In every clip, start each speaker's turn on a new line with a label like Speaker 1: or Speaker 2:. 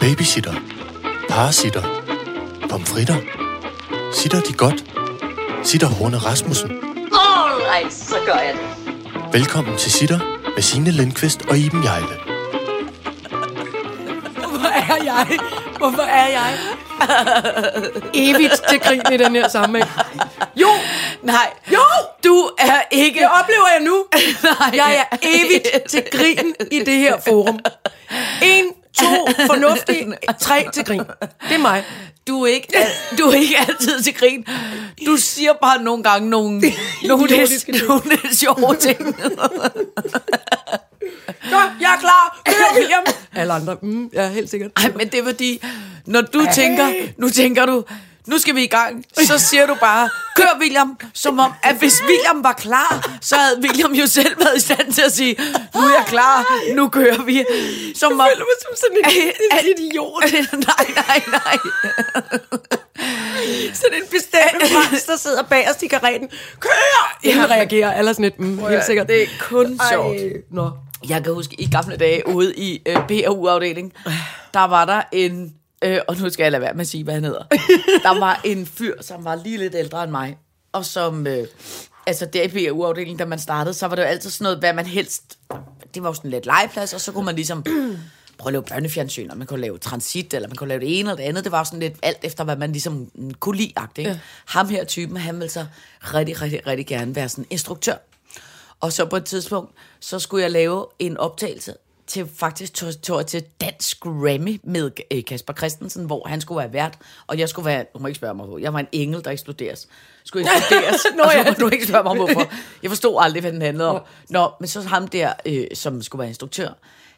Speaker 1: Babysitter. Parasitter. Pomfritter. Sitter de godt? Sitter Horne Rasmussen.
Speaker 2: Alright, så gør jeg det.
Speaker 1: Velkommen til Sitter med Signe Lindqvist og Iben Jejle.
Speaker 3: Hvor er jeg? Hvorfor er jeg? Evigt til grin i den her sammenhæng. Jo,
Speaker 4: Nej.
Speaker 3: Jo!
Speaker 4: Du er ikke...
Speaker 3: det oplever jeg nu.
Speaker 4: Nej.
Speaker 3: Jeg er evigt til grin i det her forum. En, to, fornuftig, tre til grin. Det er mig.
Speaker 4: Du er ikke, al- du er ikke altid til grin. Du siger bare nogle gange nogle, nogle, lidt,
Speaker 3: Idiotiske ting.
Speaker 4: nogle lidt sjove ting.
Speaker 3: Godt, jeg er klar. Kør William. Alle andre, mm, ja, helt sikkert.
Speaker 4: Ej, men det er fordi, når du tænker, nu tænker du, nu skal vi i gang, så siger du bare, kør William, som om, at hvis William var klar, så havde William jo selv været i stand til at sige, nu er jeg klar, nu kører vi. Som jeg føler mig som sådan en, en idiot. nej, nej, nej.
Speaker 3: Sådan en bestemt præst, der sidder bagerst i karetten. Kør! Ingen
Speaker 4: Ja.
Speaker 3: reagerer. Alle er sådan lidt, mm, helt sikkert.
Speaker 4: Det er kun
Speaker 3: Ej,
Speaker 4: sjovt.
Speaker 3: Nå.
Speaker 4: Jeg kan huske, i gamle dage ude i øh, PRU-afdelingen, der var der en, øh, og nu skal jeg lade være med at sige, hvad han hedder. Der var en fyr, som var lige lidt ældre end mig, og som, øh, altså der i PRU-afdelingen, da man startede, så var det jo altid sådan noget, hvad man helst, det var jo sådan lidt legeplads, og så kunne man ligesom prøve at lave børnefjernsyn, og man kunne lave transit, eller man kunne lave det ene eller det andet. Det var jo sådan lidt alt efter, hvad man ligesom mm, kunne lide. Ikke? Ja. Ham her typen, han ville så rigtig, rigtig, rigtig gerne være sådan instruktør. Og så på et tidspunkt, så skulle jeg lave en optagelse til faktisk tog, tog jeg til Dansk Grammy med øh, Kasper Christensen, hvor han skulle være vært, og jeg skulle være, du må ikke spørge mig hvor, jeg var en engel, der eksploderes. Skulle eksploderes, Nå,
Speaker 3: Nå
Speaker 4: og så
Speaker 3: ja.
Speaker 4: må du ikke spørge mig hvorfor. Jeg forstod aldrig, hvad den handlede om. Nå, men så ham der, øh, som skulle være instruktør,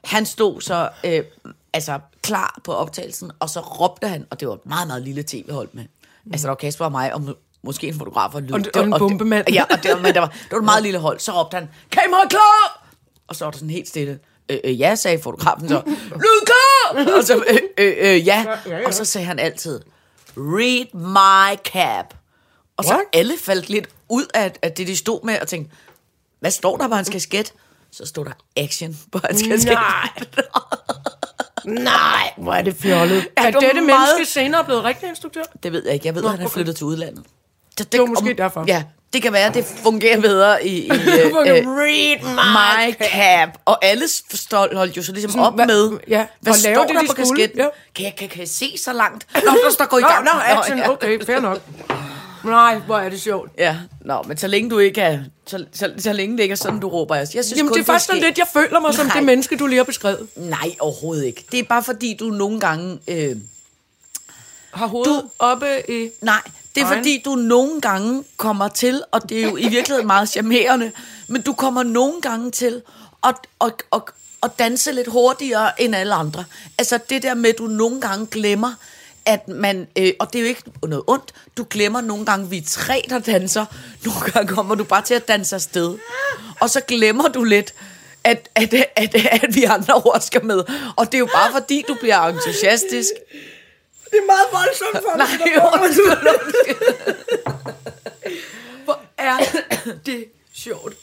Speaker 4: han stod så øh, altså klar på optagelsen, og så råbte han, og det var et meget, meget lille tv-hold med. Altså der var Kasper og mig, og må- måske en fotograf og lyd.
Speaker 3: Og- og en bombemand.
Speaker 4: Ja, og det var, men der var, det var et meget lille hold. Så råbte han, kamera klar! Og så var der sådan helt stille. Øh, øh, ja, sagde fotografen så. Lyd klar! Og så, øh, øh, øh, ja. Og så sagde han altid, read my cap. Og så
Speaker 3: What?
Speaker 4: alle faldt lidt ud af, af det, de stod med, og tænkte, hvad står der på
Speaker 3: Mm.
Speaker 4: hans kasket? Så stod der action på hans kasket.
Speaker 3: Nej, hvor er det fjollet. Er,
Speaker 4: det var
Speaker 3: dette
Speaker 4: meget-
Speaker 3: menneske senere blevet rigtig instruktør?
Speaker 4: Det ved jeg ikke. Jeg ved, at han er
Speaker 3: okay.
Speaker 4: flyttet til udlandet. Så Det,
Speaker 3: var måske derfor.
Speaker 4: Ja, det kan være, at det fungerer bedre i... i øh, øh,
Speaker 3: read
Speaker 4: my cap. Og alle forstod, holdt jo så ligesom
Speaker 3: Sådan,
Speaker 4: op
Speaker 3: hvad-
Speaker 4: med,
Speaker 3: ja,
Speaker 4: hvad
Speaker 3: og lave
Speaker 4: står
Speaker 3: det,
Speaker 4: der
Speaker 3: de
Speaker 4: på
Speaker 3: skulle,
Speaker 4: kasketten?
Speaker 3: ja.
Speaker 4: Kan, jeg, kan, kan jeg se så langt? Nå, der står gå i
Speaker 3: Nå,
Speaker 4: gang.
Speaker 3: nå, action,
Speaker 4: ja.
Speaker 3: okay, fair nok. Nej, hvor er det sjovt.
Speaker 4: Ja, nå, men så længe du ikke er... Så, så, så længe det ikke er sådan, du råber. Jeg synes
Speaker 3: Jamen,
Speaker 4: kun,
Speaker 3: det er faktisk sådan
Speaker 4: skægt.
Speaker 3: lidt, jeg føler mig som
Speaker 4: Nej.
Speaker 3: det menneske, du lige har beskrevet.
Speaker 4: Nej, overhovedet ikke. Det er bare fordi, du nogle gange... Øh,
Speaker 3: Har hovedet du... oppe i...
Speaker 4: Nej, det er
Speaker 3: Egen.
Speaker 4: fordi, du nogle gange kommer til, og det er jo i virkeligheden meget charmerende, men du kommer nogle gange til at, at, at, at danse lidt hurtigere end alle andre. Altså det der med, at du nogle gange glemmer, at man, øh, og det er jo ikke noget ondt, du glemmer nogle gange, vi er tre, der danser, nogle gange kommer du bare til at danse afsted, og så glemmer du lidt, at, at, at, at vi andre også skal med. Og det er jo bare fordi, du bliver entusiastisk.
Speaker 3: Det er meget voldsomt for
Speaker 4: Nej, undskyld, undskyld.
Speaker 3: Hvor er det sjovt.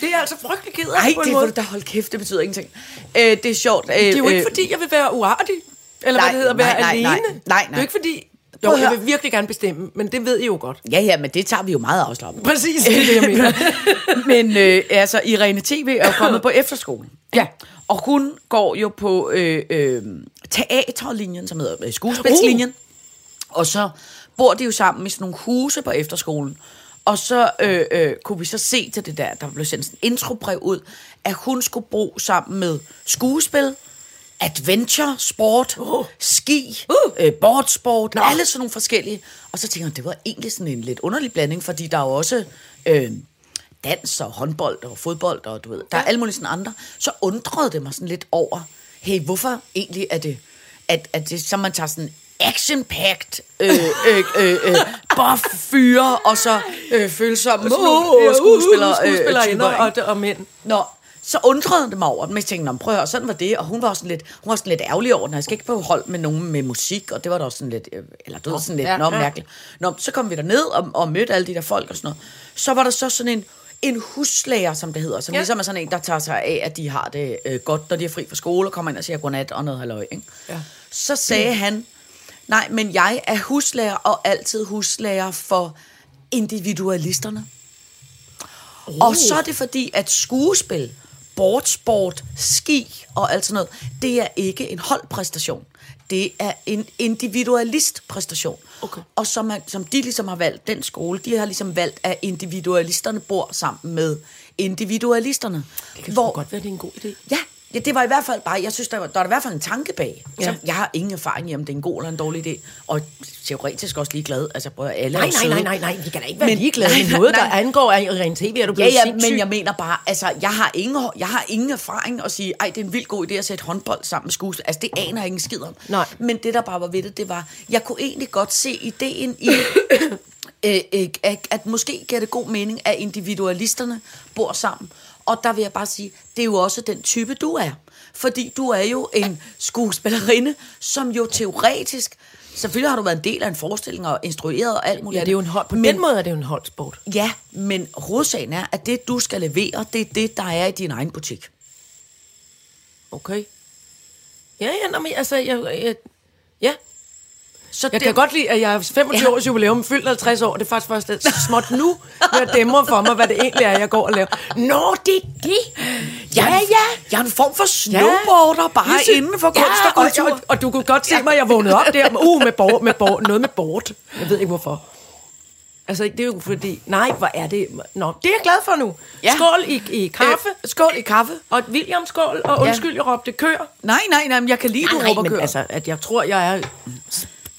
Speaker 3: Det er jeg altså frygtelig ked af
Speaker 4: Nej,
Speaker 3: på en
Speaker 4: det
Speaker 3: måde.
Speaker 4: var da hold kæft, det betyder ingenting. Øh, det er sjovt. Øh,
Speaker 3: Det er jo ikke, fordi jeg vil være uartig. Eller
Speaker 4: Nej,
Speaker 3: hvad det hedder,
Speaker 4: nej,
Speaker 3: være
Speaker 4: nej,
Speaker 3: alene.
Speaker 4: nej, nej,
Speaker 3: Det er jo ikke fordi... Jo,
Speaker 4: Prøv at
Speaker 3: jeg
Speaker 4: høre.
Speaker 3: vil virkelig gerne bestemme, men det ved I jo godt.
Speaker 4: Ja, ja, men det tager vi jo meget afslappet.
Speaker 3: Præcis, det er det, jeg mener.
Speaker 4: men øh, altså, Irene TV er jo kommet på efterskolen.
Speaker 3: Ja.
Speaker 4: Og hun går jo på øh, øh, teaterlinjen, som hedder øh, skuespilslinjen.
Speaker 3: Uh.
Speaker 4: Og så bor de jo sammen i sådan nogle huse på efterskolen. Og så øh, øh, kunne vi så se til det der, der blev sendt sådan en introbrev ud, at hun skulle bo sammen med skuespil, adventure, sport, uh. ski, uh. Øh, boardsport, no. alle sådan nogle forskellige. Og så tænker jeg, det var egentlig sådan en lidt underlig blanding, fordi der er jo også øh, dans og håndbold og fodbold, og du ved, der er alle mulige sådan andre. Så undrede det mig sådan lidt over, hey, hvorfor egentlig er det, at, at det, så man tager sådan action-packed øh, øh, øh, øh, buff fyre, og så øh, følsomme uh, uh, skuespillere, øh,
Speaker 3: skuespillerinder
Speaker 4: typer, ikke?
Speaker 3: og, og mænd.
Speaker 4: Nå, så undrede det mig over, men jeg tænkte, "Nå, men prøv at høre, sådan var det, og hun var også sådan lidt, hun var sådan lidt ærgerlig over den, jeg skal ikke på hold med nogen med musik, og det var da også sådan lidt, øh, eller du ved, sådan lidt,
Speaker 3: ja,
Speaker 4: ja, nå,
Speaker 3: ja.
Speaker 4: mærkeligt. Nå, så kom vi derned og, og mødte alle de der folk og sådan noget. Så var der så sådan en, en huslæger, som det hedder, som ja.
Speaker 3: Ja.
Speaker 4: ligesom er sådan en, der tager sig af, at de har det øh, godt, når de er fri fra skole, og kommer ind og siger godnat og noget halløj, ikke?
Speaker 3: Ja.
Speaker 4: Så sagde han, nej, men jeg er huslærer og altid huslærer for individualisterne. Oh. Og så er det fordi, at skuespil, boardsport, ski og alt sådan noget, det er ikke en holdpræstation. Det er en individualistpræstation.
Speaker 3: Okay.
Speaker 4: Og som, er, som de ligesom har valgt, den skole, de har ligesom valgt, at individualisterne bor sammen med individualisterne.
Speaker 3: Det kan Hvor... godt være, det er en god idé.
Speaker 4: Ja, ja, det var i hvert fald bare, jeg synes, der, var, der er i hvert fald en tanke bag. Ja. Så
Speaker 3: Ja.
Speaker 4: jeg har ingen erfaring i, om det er en god eller en dårlig idé. Og teoretisk også ligeglad. Altså, prøv at alle er
Speaker 3: Nej,
Speaker 4: jo
Speaker 3: nej,
Speaker 4: søde.
Speaker 3: nej, nej, nej, vi kan da ikke være
Speaker 4: Men-
Speaker 3: men, ligeglade
Speaker 4: Nej, nej,
Speaker 3: med noget, der
Speaker 4: nej.
Speaker 3: angår af ren tv. Er du
Speaker 4: Ja,
Speaker 3: blevet
Speaker 4: ja,
Speaker 3: sindssyg?
Speaker 4: men jeg mener bare, altså, jeg har ingen, jeg har ingen erfaring at sige, ej, det er en vild god idé at sætte håndbold sammen med skuespil. Altså, det aner jeg ingen skid om.
Speaker 3: Nej.
Speaker 4: Men det, der bare var ved det, det var, jeg kunne egentlig godt se ideen i, øh, øh, at, at måske giver det god mening, at individualisterne bor sammen. Og der vil jeg bare sige, det er jo også den type, du er. Fordi du er jo en skuespillerinde, som jo teoretisk, selvfølgelig har du været en del af en forestilling og instrueret og alt muligt.
Speaker 3: Ja, det er jo en hold, på men, den måde er det jo en holdsport.
Speaker 4: Ja, men hovedsagen er, at det, du skal levere, det er det, der er i din egen butik.
Speaker 3: Okay. Ja, ja, nå, men, altså, jeg, jeg, ja.
Speaker 4: Så
Speaker 3: Jeg kan godt lide, at jeg har 25
Speaker 4: Ja.
Speaker 3: ja. års jubilæum, fyldt 50 år. Det er faktisk først lidt småt nu, når jeg dæmmer for mig, hvad det egentlig er, jeg går og laver. Nå, det er det. Ja,
Speaker 4: Jeg er en-
Speaker 3: ja.
Speaker 4: Jeg er en form for snowboarder, ja. bare
Speaker 3: Lige så-
Speaker 4: inden for kunst og kultur.
Speaker 3: Og, og, og du kunne godt se mig, jeg vågnede op der, uh, med, bor, med bor, noget med bort. Jeg ved ikke hvorfor. Altså, det er jo fordi, nej, hvor er det... Nå, det er jeg glad for nu.
Speaker 4: Ja.
Speaker 3: Ja. Skål i, i kaffe.
Speaker 4: Øh, skål i kaffe.
Speaker 3: Og William, skål. Og undskyld, jeg råbte kør.
Speaker 4: Nej, nej, nej, men jeg kan lide, du råber kører.
Speaker 3: altså, at jeg tror, jeg er...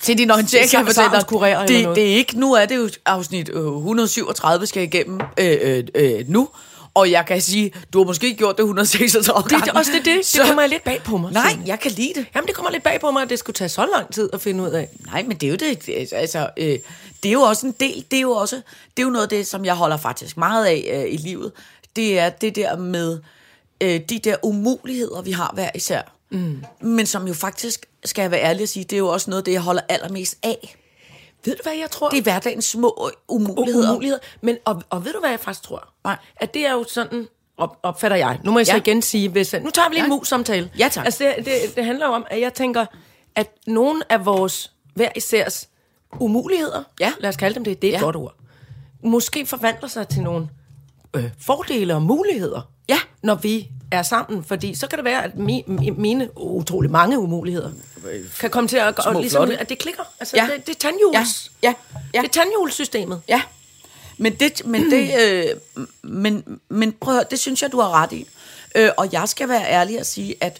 Speaker 4: til din orientering, jeg
Speaker 3: Sarens
Speaker 4: fortæller
Speaker 3: kurerer eller
Speaker 4: det,
Speaker 3: noget.
Speaker 4: det er ikke, nu er det jo afsnit øh, 137, skal jeg igennem øh, øh, øh, nu. Og jeg kan sige, du har måske gjort det 136
Speaker 3: Det,
Speaker 4: gange.
Speaker 3: det, også det, det, det
Speaker 4: Så-
Speaker 3: kommer jeg lidt bag på mig.
Speaker 4: Nej,
Speaker 3: sådan.
Speaker 4: jeg kan lide det.
Speaker 3: Jamen, det kommer lidt bag på mig, at det skulle tage så lang tid at finde ud af.
Speaker 4: Nej, men det er jo det, altså, øh, det er jo også en del, det er jo også, det er jo noget af det, som jeg holder faktisk meget af øh, i livet, det er det der med øh, de der umuligheder, vi har hver især, mm. men som jo faktisk, skal jeg være ærlig at sige, det er jo også noget af det, jeg holder allermest af.
Speaker 3: Ved du, hvad jeg tror?
Speaker 4: Det er hverdagens små øh, umuligheder.
Speaker 3: umuligheder. umuligheder. Uhuh. Men, og, og ved du, hvad jeg faktisk tror?
Speaker 4: Nej.
Speaker 3: At det er jo sådan, op, opfatter jeg. Nu må jeg så
Speaker 4: Ja.
Speaker 3: ja. igen sige, hvis, nu tager vi lige en
Speaker 4: Ja.
Speaker 3: mus-samtale.
Speaker 4: Ja, tak.
Speaker 3: Altså, det, det, det handler jo om, at jeg tænker, at nogle af vores hver isærs umuligheder,
Speaker 4: Ja.
Speaker 3: lad os kalde dem det, det er et
Speaker 4: Ja.
Speaker 3: godt ord, måske forvandler sig til nogle øh, fordele og muligheder,
Speaker 4: Ja.
Speaker 3: når vi er sammen. Fordi så kan det være, at mi, mi, mine utrolig mange umuligheder kan komme til at, og ligesom,
Speaker 4: flotte.
Speaker 3: at det klikker. Altså,
Speaker 4: Ja.
Speaker 3: ja. det, det er tandhjuls.
Speaker 4: Ja, ja, ja.
Speaker 3: Det er tandhjulssystemet.
Speaker 4: Ja. Men det, men det, øh, men, men prøv at høre, det synes jeg, du har ret i. Øh, og jeg skal være ærlig og sige, at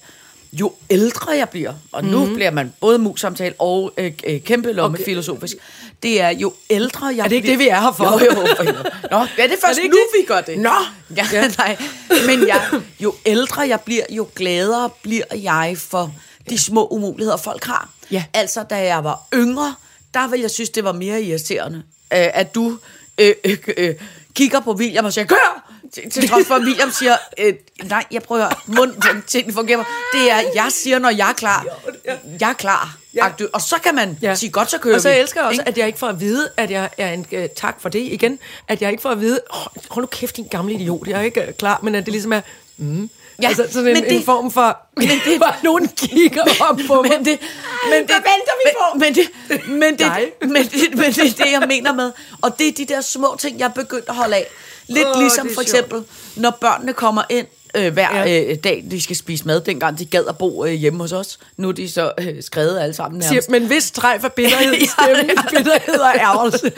Speaker 4: jo ældre jeg bliver, og nu
Speaker 3: Mhm.
Speaker 4: bliver man både mus-samtale og øh, øh, kæmpe lomme okay. filosofisk, det er jo ældre jeg Er
Speaker 3: det ikke det, vi er her for?
Speaker 4: Jo, jo, for helvede. Nå, ja, det er først er det
Speaker 3: ikke
Speaker 4: nu,
Speaker 3: det?
Speaker 4: vi gør det.
Speaker 3: Nå!
Speaker 4: Ja, ja. nej. Men jeg, jo ældre jeg bliver, jo gladere bliver jeg for de små umuligheder, folk har.
Speaker 3: Ja.
Speaker 4: Altså, da jeg var yngre, der ville jeg synes, det var mere irriterende, øh, at du øh, øh, øh, kigger på William og siger, kør! Til, til trods for, at William siger, øh, nej, jeg prøver at høre, mund, tingene fungerer. bare. Det er, jeg siger, når jeg er klar. Jeg er klar.
Speaker 3: Ja.
Speaker 4: Ja. Og så kan man ja. sige, godt, så kører
Speaker 3: Og så
Speaker 4: vi.
Speaker 3: elsker jeg også,
Speaker 4: Ikke?
Speaker 3: at jeg ikke får at vide, at jeg er en... Øh, tak for det igen. At jeg ikke får at vide, oh, hold nu kæft, din gamle idiot, jeg er ikke øh, klar, men at det ligesom er... Mm.
Speaker 4: Ja,
Speaker 3: Ja, altså sådan en,
Speaker 4: men det-
Speaker 3: det, en form for... Men
Speaker 4: det-
Speaker 3: det, bare nogen kigger op på mig.
Speaker 4: men det, men det,
Speaker 3: venter vi
Speaker 4: Men,
Speaker 3: på?
Speaker 4: men det, men det,
Speaker 3: Dig.
Speaker 4: men det, men det, er det, jeg mener med. Og det er de der små ting, jeg er begyndt at holde af. Lidt
Speaker 3: Åh,
Speaker 4: oh, ligesom
Speaker 3: det er
Speaker 4: for
Speaker 3: sjovt.
Speaker 4: eksempel, når børnene kommer ind øh, hver
Speaker 3: Ja.
Speaker 4: ja. øh, dag, de skal spise mad, dengang de gad at bo øh, hjemme hos os. Nu er de så øh, skrevet alle sammen nærmest.
Speaker 3: Siger, men hvis træf er bitterhed,
Speaker 4: Ja.
Speaker 3: ja. stemmen bitterhed og ærgelse.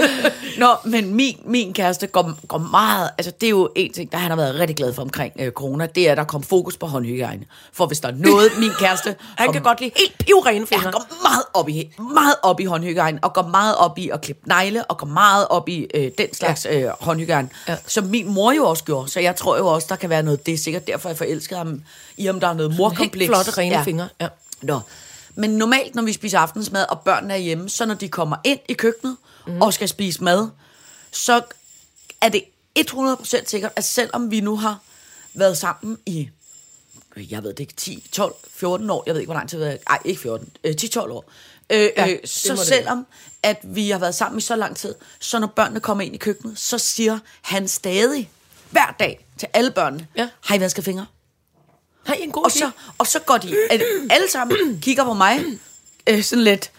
Speaker 4: Nå, men min, min kæreste går, går meget... Altså, det er jo en ting, der han har været rigtig glad for omkring øh, corona, det er, at der kom fokus på håndhygiejne. For hvis der er noget, min kæreste...
Speaker 3: Han kan godt lide helt pivrene
Speaker 4: Ja,
Speaker 3: fingre.
Speaker 4: han går meget op i, meget op i håndhygiejne, og går meget op i at klippe negle, og går meget op i øh, den slags ja. øh, håndhygiejne, ja. som min mor jo også gjorde. Så jeg tror jo også, der kan være noget. Det er sikkert derfor, jeg forelsker ham i, om der er noget morkompleks.
Speaker 3: Helt flotte, rene fingre, ja.
Speaker 4: Nå. Men normalt, når vi spiser aftensmad, og børnene er hjemme, så når de kommer ind i køkkenet
Speaker 3: Mhm.
Speaker 4: mm. og skal spise mad, så er det 100% sikkert, at selvom vi nu har været sammen i, jeg ved det ikke, 10, 12, 14 år, jeg ved ikke, hvor lang tid, vi har været- ej, ikke 14, øh, 10-12 år, øh,
Speaker 3: Ja,
Speaker 4: ja, øh,
Speaker 3: det
Speaker 4: så
Speaker 3: må det
Speaker 4: selvom, at vi har været sammen i så lang tid, så når børnene kommer ind i køkkenet, så siger han stadig, hver dag til alle børnene.
Speaker 3: Ja.
Speaker 4: Har I vasket fingre?
Speaker 3: Har I en god
Speaker 4: Og så, og så går de at alle sammen kigger på mig øh, sådan lidt,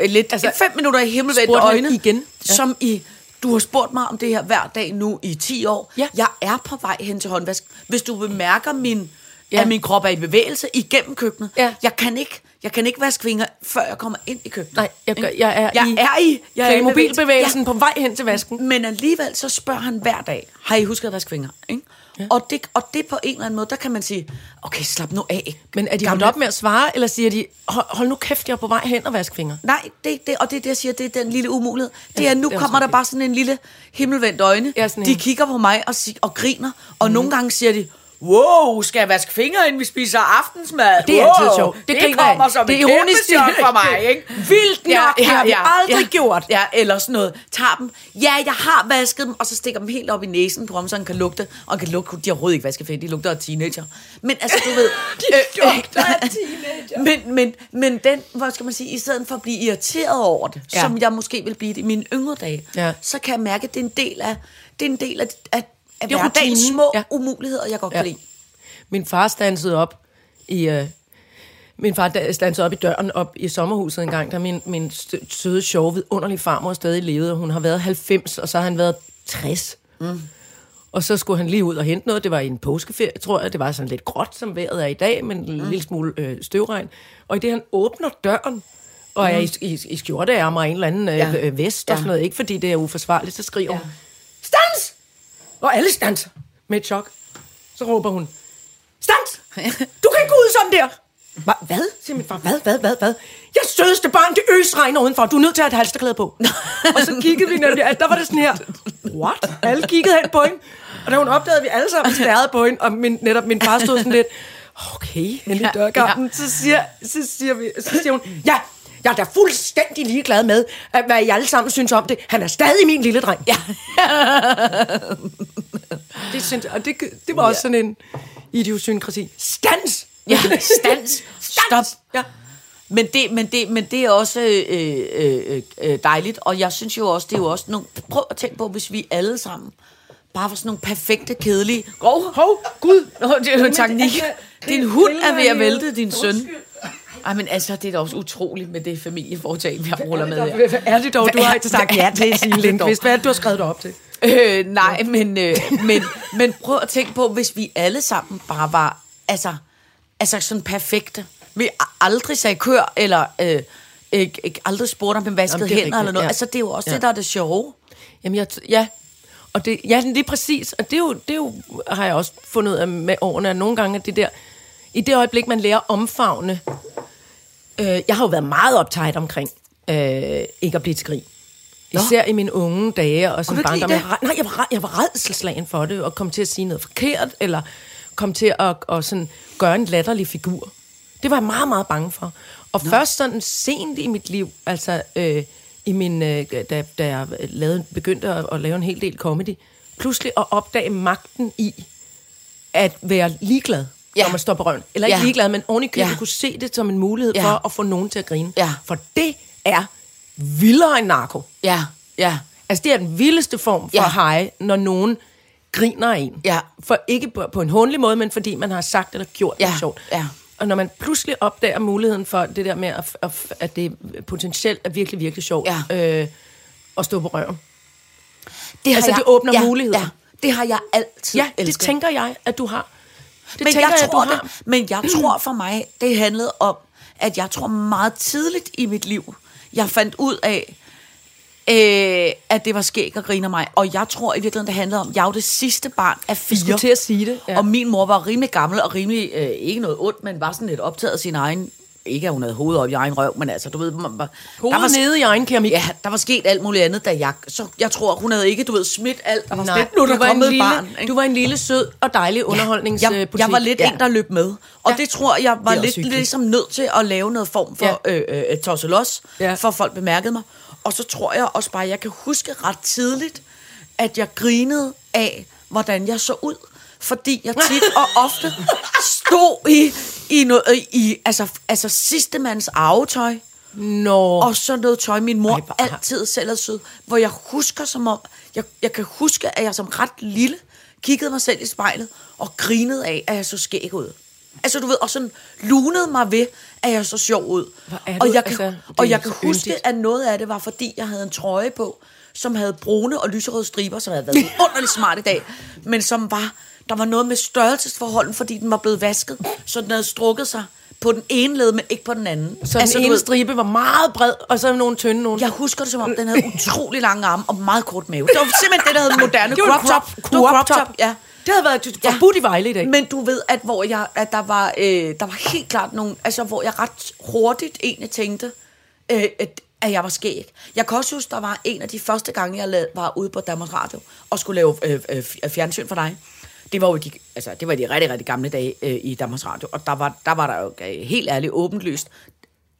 Speaker 4: øh, lidt altså, fem minutter i himmelvendte
Speaker 3: spurgte han
Speaker 4: øjne.
Speaker 3: igen? Ja.
Speaker 4: Som i, du har spurgt mig om det her hver dag nu i 10 år.
Speaker 3: Ja.
Speaker 4: Jeg er på vej hen til håndvask. Hvis du bemærker min,
Speaker 3: Ja.
Speaker 4: ja. at min krop er i bevægelse igennem køkkenet.
Speaker 3: Ja.
Speaker 4: Jeg kan ikke jeg kan ikke vaske fingre, før jeg kommer ind i køkkenet.
Speaker 3: Nej, jeg, gør, jeg er
Speaker 4: Jeg
Speaker 3: i,
Speaker 4: er i
Speaker 3: jeg er i
Speaker 4: kræmebevægelsen.
Speaker 3: mobilbevægelsen
Speaker 4: Ja.
Speaker 3: ja. på vej hen til vasken.
Speaker 4: Men alligevel så spørger han hver dag, har I husket at vaske fingre? Ikke? Ja. Og, det, og det på en eller anden måde, der kan man sige, okay, slap nu af.
Speaker 3: Men er de holdt
Speaker 4: gamle."
Speaker 3: op med at svare, eller siger de, hold, hold nu kæft, jeg er på vej hen og vaske fingre?
Speaker 4: Nej, det, det, og det er det, jeg siger, det er den lille umulighed. Det
Speaker 3: Ja,
Speaker 4: er, nu
Speaker 3: det er
Speaker 4: kommer der
Speaker 3: også rigtigt.
Speaker 4: bare sådan en lille himmelvendt øjne.
Speaker 3: Ja, sådan
Speaker 4: de
Speaker 3: en- Mhm.
Speaker 4: kigger på mig og, sig, og griner, og nogle gange siger de, wow, skal jeg vaske fingre, inden vi spiser aftensmad?
Speaker 3: Det er
Speaker 4: wow,
Speaker 3: altid sjovt. Det
Speaker 4: Det,
Speaker 3: griner jeg.
Speaker 4: kommer som
Speaker 3: Det
Speaker 4: det
Speaker 3: er
Speaker 4: er et kæmpe
Speaker 3: ironisk.
Speaker 4: chok for mig, ikke? Vildt nok,
Speaker 3: Ja, ja,
Speaker 4: det har vi
Speaker 3: ja,
Speaker 4: aldrig
Speaker 3: ja.
Speaker 4: gjort. Ja, eller sådan noget. Tager dem, ja, jeg har vasket dem, og så stikker dem helt op i næsen på ham, så han kan lugte. Og han kan lugte, de har overhovedet ikke vaskefæt, de lugter af teenager. Men altså, du ved... de
Speaker 3: lugter af
Speaker 4: teenager. Men, men, men den, hvad skal man sige, i stedet for at blive irriteret over det,
Speaker 3: Ja.
Speaker 4: ja. som jeg måske vil blive det i mine yngre dage,
Speaker 3: Ja.
Speaker 4: så kan jeg mærke, at det er en del af, det er en del af, af, af
Speaker 3: Det er
Speaker 4: hverdagens
Speaker 3: rutinen.
Speaker 4: små
Speaker 3: Ja.
Speaker 4: ja. umuligheder, jeg godt kan
Speaker 3: Ja.
Speaker 4: ja. lide.
Speaker 3: Min far stansede op i... Øh, min far da- stansede op i døren op i sommerhuset en gang, da min, min stø- søde, sjove, vidunderlige farmor stadig levede, og hun har været 90, og så har han været 60. Mm. Og så skulle han lige ud og hente noget. Det var i en påskeferie, tror jeg. Det var sådan lidt gråt, som vejret er i dag, men en
Speaker 4: Mm.
Speaker 3: lille smule øh, støvregn. Og i det, han åbner døren, og er i, i, i skjorteærmer og en eller anden øh,
Speaker 4: Mm. Ja.
Speaker 3: ja. vest og
Speaker 4: Ja.
Speaker 3: sådan noget, ikke fordi det er uforsvarligt, så skriver
Speaker 4: Ja.
Speaker 3: hun, Stans! Og alle stanser med et chok. Så råber hun, Stans! Du kan ikke gå ud sådan der! Hva- Hvad? Siger min far. Hvad, hvad, hvad, hvad? Jeg sødeste barn, det øsregner udenfor. Du er nødt til at have et halsterklæde på. og så kiggede vi nemlig, altså, der var det sådan her, what? Alle kiggede hen på hende. Og da hun opdagede, at vi alle sammen stærrede på hende, og min, netop min far stod sådan lidt, okay, hen i
Speaker 4: Ja,
Speaker 3: dørkampen, ja. så, siger, så, siger vi, så siger hun, ja, jeg er da fuldstændig ligeglad med, at hvad I alle sammen synes om det. Han er stadig min lille dreng. Ja. det, synes, og det, det var også sådan en idiosynkrasi. Stans!
Speaker 4: Ja, stands. Stop.
Speaker 3: Ja.
Speaker 4: Men det, men det, men det er også øh, øh, øh, dejligt, og jeg synes jo også, det er jo også nogle... Prøv at tænke på, hvis vi alle sammen bare var sådan nogle perfekte, kedelige... Hov, hov, gud, Nå, det er jo
Speaker 3: altså,
Speaker 4: teknik. Din hund er ved at vælte din søn. Ej, men altså, det er da også utroligt med det familieforetagende, vi har ruller med her.
Speaker 3: Hvad er det dog, du
Speaker 4: Hvad er-
Speaker 3: har sagt
Speaker 4: hvad
Speaker 3: ja
Speaker 4: er- hvad
Speaker 3: til,
Speaker 4: er
Speaker 3: Signe
Speaker 4: det
Speaker 3: Lindqvist?
Speaker 4: dog?
Speaker 3: Hvad er det, du har skrevet dig op til?
Speaker 4: Øh, nej, men, øh, men, men prøv at tænke på, hvis vi alle sammen bare var, altså, altså sådan perfekte. Vi aldrig sagde kør, eller øh, ikke, ikke, aldrig spurgte om en vasket
Speaker 3: Jamen,
Speaker 4: hænder
Speaker 3: det er rigtigt,
Speaker 4: eller noget.
Speaker 3: ja.
Speaker 4: Ja. Altså, det er jo også
Speaker 3: Ja.
Speaker 4: ja. det, der er det sjove.
Speaker 3: Jamen, jeg, t- ja. Og det, ja, lige præcis. Og det er, jo, det er jo, har jeg også fundet ud af med årene, at nogle gange, at det der, i det øjeblik, man lærer at omfavne, øh, jeg har jo været meget optaget omkring øh, ikke at blive et skrig. Især i mine unge dage og sådan
Speaker 4: du ikke
Speaker 3: barndom.
Speaker 4: lide
Speaker 3: Jeg,
Speaker 4: det?
Speaker 3: var red- nej, jeg var, red- jeg var redselslagen for det, og kom til at sige noget forkert, eller kom til at og sådan, gøre en latterlig figur. Det var jeg meget, meget bange for. Og Nå. først sådan sent i mit liv, altså øh, i min, øh, da, da jeg lavede, begyndte at, at lave en hel del comedy, pludselig at opdage magten i at være ligeglad, ja.
Speaker 4: Ja.
Speaker 3: når man står på røven. Eller ikke
Speaker 4: Ja.
Speaker 3: ligeglad, men oven i købet ja.
Speaker 4: Ja.
Speaker 3: kunne se det som en mulighed ja.
Speaker 4: Ja.
Speaker 3: for at få nogen til at grine.
Speaker 4: Ja.
Speaker 3: For det er vildere end narko.
Speaker 4: Ja, ja,
Speaker 3: Altså, det er den vildeste form for ja.
Speaker 4: Ja.
Speaker 3: hej, når nogen griner af en.
Speaker 4: Ja.
Speaker 3: For ikke på, på en håndelig måde, men fordi man har sagt eller gjort
Speaker 4: Ja,
Speaker 3: noget sjovt.
Speaker 4: ja.
Speaker 3: Og når man pludselig opdager muligheden for det der med, at, at, at det potentielt er virkelig, virkelig sjovt ja. øh, at stå på røven.
Speaker 4: Det
Speaker 3: Altså, det åbner muligheder.
Speaker 4: Ja, det har jeg altid
Speaker 3: Ja, det
Speaker 4: elsket.
Speaker 3: tænker jeg, at du har. Det
Speaker 4: men
Speaker 3: tænker
Speaker 4: jeg,
Speaker 3: jeg,
Speaker 4: tror,
Speaker 3: at du har.
Speaker 4: det, men jeg tror for mig, det handlede om, at jeg tror meget tidligt i mit liv, jeg fandt ud af, øh, at det var skæg og griner mig. Og jeg tror i virkeligheden, det handlede om, jeg er jo det sidste barn af fire.
Speaker 3: skulle til at sige det, ja.
Speaker 4: Ja. Og min mor var rimelig gammel og rimelig, øh, ikke noget ondt, men var sådan lidt optaget af sin egen, ikke at hun havde hovedet op i egen røv, men altså, du ved, man, var,
Speaker 3: Hovedet
Speaker 4: var,
Speaker 3: nede i egen keramik.
Speaker 4: Ja, der var sket alt muligt andet, da jeg, så jeg tror, hun havde ikke, du ved, smidt alt, der var
Speaker 3: Nej,
Speaker 4: slet, nu er der
Speaker 3: du, var en
Speaker 4: kommet et
Speaker 3: lille,
Speaker 4: barn. ikke?
Speaker 3: du var en lille, sød og dejlig underholdningsbutik.
Speaker 4: jeg, jeg var lidt ja. en, der løb med. Og
Speaker 3: Ja.
Speaker 4: ja. det tror jeg var
Speaker 3: Det er også
Speaker 4: lidt
Speaker 3: hyggeligt.
Speaker 4: ligesom nødt til at lave noget form for
Speaker 3: Ja.
Speaker 4: ja. øh, øh, tosselos,
Speaker 3: Ja.
Speaker 4: ja. for folk bemærkede mig. Og så tror jeg også bare, at jeg kan huske ret tidligt, at jeg grinede af, hvordan jeg så ud. Fordi jeg tit og ofte stod i, i, noget, i altså, altså sidste mands arvetøj.
Speaker 3: Nå.
Speaker 4: Og så noget tøj, min mor
Speaker 3: Ej,
Speaker 4: Ej,
Speaker 3: hvor-
Speaker 4: altid selv er sød, hvor jeg husker som om, jeg, jeg kan huske, at jeg som ret lille kiggede mig selv i spejlet og grinede af, at jeg så skæg ud. Altså, du ved, og sådan lunede mig ved, at jeg så sjov ud.
Speaker 3: Hvor er du-
Speaker 4: og jeg kan,
Speaker 3: altså, det
Speaker 4: og
Speaker 3: er
Speaker 4: jeg kan
Speaker 3: så
Speaker 4: huske,
Speaker 3: yndigt.
Speaker 4: at noget af det var, fordi jeg havde en trøje på, som havde brune og lyserøde striber, som havde været underligt smart i dag, men som var, der var noget med størrelsesforholden, fordi den var blevet vasket, så den havde strukket sig på den ene led, men ikke på den anden.
Speaker 3: Så altså, den
Speaker 4: du
Speaker 3: ene
Speaker 4: ved-
Speaker 3: stribe var meget bred, og så nogle tynde nogle.
Speaker 4: jeg husker det som om, den havde
Speaker 3: Mm.
Speaker 4: utrolig lange arme og meget kort mave. Det var simpelthen det, der hed den moderne
Speaker 3: Det var en
Speaker 4: crop top.
Speaker 3: crop-
Speaker 4: Det var
Speaker 3: crop top.
Speaker 4: Ja.
Speaker 3: Det havde været forbudt i Vejle i dag.
Speaker 4: Men du ved, at, hvor jeg, at der, var, øh, der var helt klart nogen, altså hvor jeg ret hurtigt egentlig tænkte, øh, at, at jeg var skæg. Jeg kan også huske, der var en af de første gange, jeg lavede, var ude på Danmarks Radio og skulle lave øh, øh, f- fjernsyn for dig. Det var jo de, altså, det var de rigtig, rigtig gamle dage øh, i Danmarks Radio, og der var der, var der jo øh, helt ærligt åbenlyst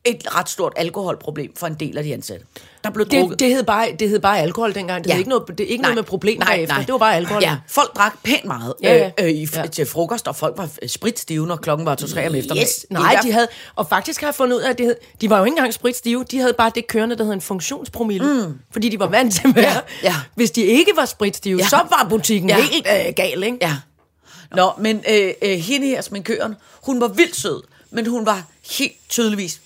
Speaker 4: et ret stort alkoholproblem for en del af de ansatte. Der blev drukket.
Speaker 3: Det, det, hed bare, det hed bare alkohol dengang. Det ja. hed ikke noget, det er ikke
Speaker 4: Nej.
Speaker 3: noget med problemer bagefter. Det var bare alkohol.
Speaker 4: Ja, folk drak pænt meget
Speaker 3: Ja,
Speaker 4: ja,
Speaker 3: ja.
Speaker 4: ja. Øh, i,
Speaker 3: Ja.
Speaker 4: ja. til frokost, og folk var øh, spritstive, når klokken var 2-3 om eftermiddagen.
Speaker 3: Yes. Nej, de havde, og faktisk har jeg fundet ud af, at det hed, de var jo ikke engang spritstive, de havde bare det kørende, der hed en funktionspromille, mm. fordi de var vant til at være.
Speaker 4: Ja, ja.
Speaker 3: Hvis de ikke var spritstive, ja.
Speaker 4: Ja.
Speaker 3: så var butikken ja.
Speaker 4: Ja.
Speaker 3: helt øh, gal, ikke?
Speaker 4: Ja. Nå, men øh, øh, hende her, som køren, hun var vildt sød, men hun var helt tydeligvis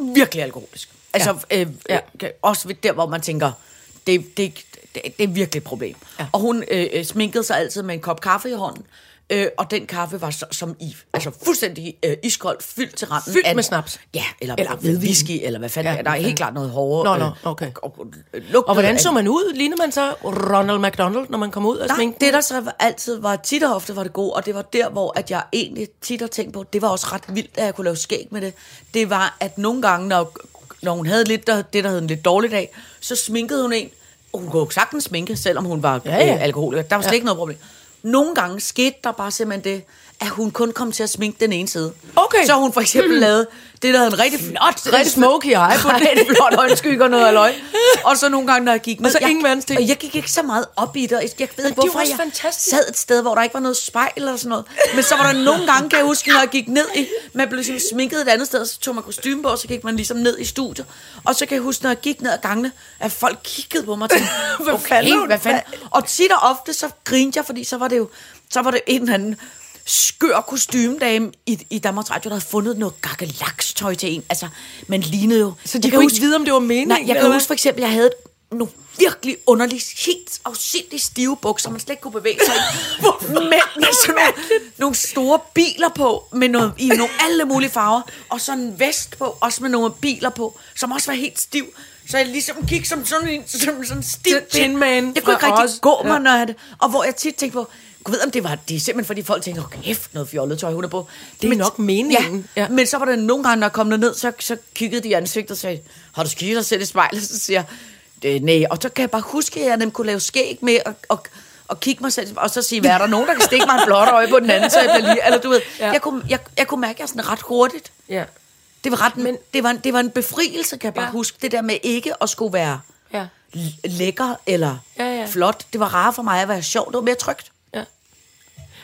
Speaker 4: virkelig alkoholisk. Altså, ja. Øh,
Speaker 3: Ja.
Speaker 4: ja. også ved der, hvor man tænker, det, det, det, det er virkelig et problem.
Speaker 3: Ja.
Speaker 4: Ja. Og hun øh, øh, sminkede sig altid med en kop kaffe i hånden, øh, og den kaffe var så, som i, altså fuldstændig øh, iskold, fyldt til randen.
Speaker 3: Fyldt
Speaker 4: af-
Speaker 3: med snaps.
Speaker 4: Ja, eller,
Speaker 3: Eller
Speaker 4: eller
Speaker 3: hvidvin.
Speaker 4: whisky, eller hvad fanden.
Speaker 3: Ja,
Speaker 4: Ja, der
Speaker 3: hvad
Speaker 4: er helt
Speaker 3: fanden.
Speaker 4: klart noget hårdere.
Speaker 3: Nå, nå,
Speaker 4: øh,
Speaker 3: okay.
Speaker 4: Og, og, og,
Speaker 3: Og hvordan så man ud? Lignede man så Ronald McDonald, når man kom ud og
Speaker 4: Nej,
Speaker 3: sminkede?
Speaker 4: det der så var- altid var tit og ofte var det god, og det var der, hvor at jeg egentlig tit har tænkt på, det var også ret vildt, at jeg kunne lave skæg med det, det var, at nogle gange, når, når hun havde lidt, der, det, der hed en lidt dårlig dag, så sminkede hun en, og hun kunne jo sagtens sminke, selvom hun var
Speaker 3: Ja, ja.
Speaker 4: Øh, alkoholiker, der var slet
Speaker 3: Ja.
Speaker 4: ja. ikke noget problem. Nogle gange skete der bare simpelthen det, at hun kun kom til at sminke den ene side.
Speaker 3: Okay.
Speaker 4: Så hun for eksempel lavede det, der hed en rigtig flot,
Speaker 3: Rigtig smoky eye på den.
Speaker 4: rigtig flot øjenskygge og noget aløj. Og så nogle gange, når jeg gik med,
Speaker 3: så
Speaker 4: jeg,
Speaker 3: ingen verdens ting.
Speaker 4: Og jeg gik ikke så meget op i det, og jeg jeg ved
Speaker 3: Men
Speaker 4: ved
Speaker 3: det er jo
Speaker 4: ikke, hvorfor
Speaker 3: også
Speaker 4: jeg
Speaker 3: fantastisk.
Speaker 4: sad et sted, hvor der ikke var noget spejl eller sådan noget. Men så var der nogle gange, kan jeg huske, når jeg gik ned i... Man blev ligesom sminket et andet sted, og så tog man kostume på, og så gik man ligesom ned i studiet. Og så kan jeg huske, når jeg gik ned ad gangene, at folk kiggede på mig og tænkte,
Speaker 3: Hvad
Speaker 4: hvad
Speaker 3: fanden er hun?
Speaker 4: okay, hvad fanden? Og tit og ofte, så grinte jeg, fordi så var det jo så var det en eller anden skør kostymedame i, i Danmarks Radio, der havde fundet noget gakkelakstøj til en. Altså, man lignede jo...
Speaker 3: Så de
Speaker 4: Jeg kan
Speaker 3: kunne ikke
Speaker 4: huske-
Speaker 3: vide, om det var meningen,
Speaker 4: Nej, jeg
Speaker 3: eller
Speaker 4: kan
Speaker 3: hvad?
Speaker 4: huske for eksempel, jeg havde nogle virkelig underlige, helt afsindig stive bukser, man slet ikke kunne bevæge sig i. med, med sådan nogle, nogle store biler på, med noget, i nogle alle mulige farver, og sådan en vest på, også med nogle biler på, som også var helt stiv. Så jeg ligesom gik som sådan en som sådan en stiv
Speaker 3: Tin- Tin Man
Speaker 4: Jeg kunne ikke
Speaker 3: fra
Speaker 4: rigtig
Speaker 3: Oz.
Speaker 4: gå mig,
Speaker 3: Ja.
Speaker 4: når jeg havde, Og hvor jeg tit tænkte på, Gud ved, om det var det er simpelthen, fordi folk tænker, oh, kæft, noget fjollet tøj, hun er på.
Speaker 3: Det er nok meningen.
Speaker 4: Ja,
Speaker 3: Ja.
Speaker 4: ja. Men så var der nogle gange, når jeg kom derned, så, så kiggede de i ansigtet og sagde, har du skikket dig selv i spejlet? Så siger jeg, "Øh, nej. Og så kan jeg bare huske, at jeg nemt kunne lave skæg med og, og, og kigge mig selv, og så sige, hvad er der nogen, der kan stikke mig en blåt øje på den anden, så jeg bliver lige, eller du ved,
Speaker 3: Ja.
Speaker 4: ja. jeg, kunne, jeg, jeg kunne mærke, at jeg sådan ret hurtigt,
Speaker 3: Ja.
Speaker 4: det var, ret, Men, det, var en, det var en befrielse, kan jeg bare
Speaker 3: Ja.
Speaker 4: ja. huske, det der med ikke at skulle være
Speaker 3: Ja.
Speaker 4: l- lækker eller
Speaker 3: Ja, ja.
Speaker 4: flot. Det var rarere for mig at være sjov, det var mere trygt.
Speaker 3: Ja.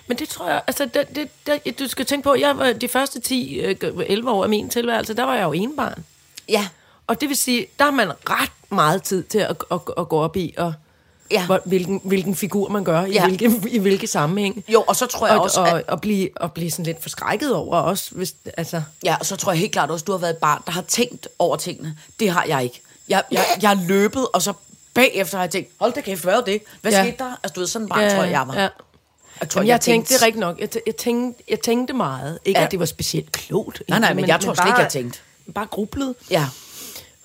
Speaker 3: Men det tror jeg, altså det, det, det, du skal tænke på, jeg var de første 10-11 år af min tilværelse, der var jeg jo enebarn.
Speaker 4: Ja,
Speaker 3: Og det vil sige, der har man ret meget tid til at, at, at gå op i, og,
Speaker 4: Ja.
Speaker 3: hvor, hvilken, hvilken figur man gør, i,
Speaker 4: Ja.
Speaker 3: hvilke, i hvilke sammenhæng.
Speaker 4: Jo, og så tror jeg
Speaker 3: og,
Speaker 4: også,
Speaker 3: og,
Speaker 4: at-
Speaker 3: og, blive, og blive sådan lidt forskrækket over også, hvis, altså...
Speaker 4: Ja, og så tror jeg helt klart også, at du har været et barn, der har tænkt over tingene. Det har jeg ikke. Jeg, jeg, jeg er løbet, og så bagefter har jeg tænkt, hold da kæft, hvad var det? Hvad
Speaker 3: Ja.
Speaker 4: ja. skete der? Altså, du ved, sådan et barn, tror jeg, jeg var.
Speaker 3: Ja.
Speaker 4: Jeg, tror,
Speaker 3: Jamen, jeg, tænkte, det er rigtigt nok. Jeg, tæ- jeg, tænkte, jeg tænkte meget. Ikke, ja.
Speaker 4: Ja.
Speaker 3: at det var specielt klogt.
Speaker 4: Nej, nej,
Speaker 3: egentlig,
Speaker 4: men jeg tror slet ikke,
Speaker 3: bare-
Speaker 4: jeg tænkte.
Speaker 3: Bare grublede.
Speaker 4: Ja.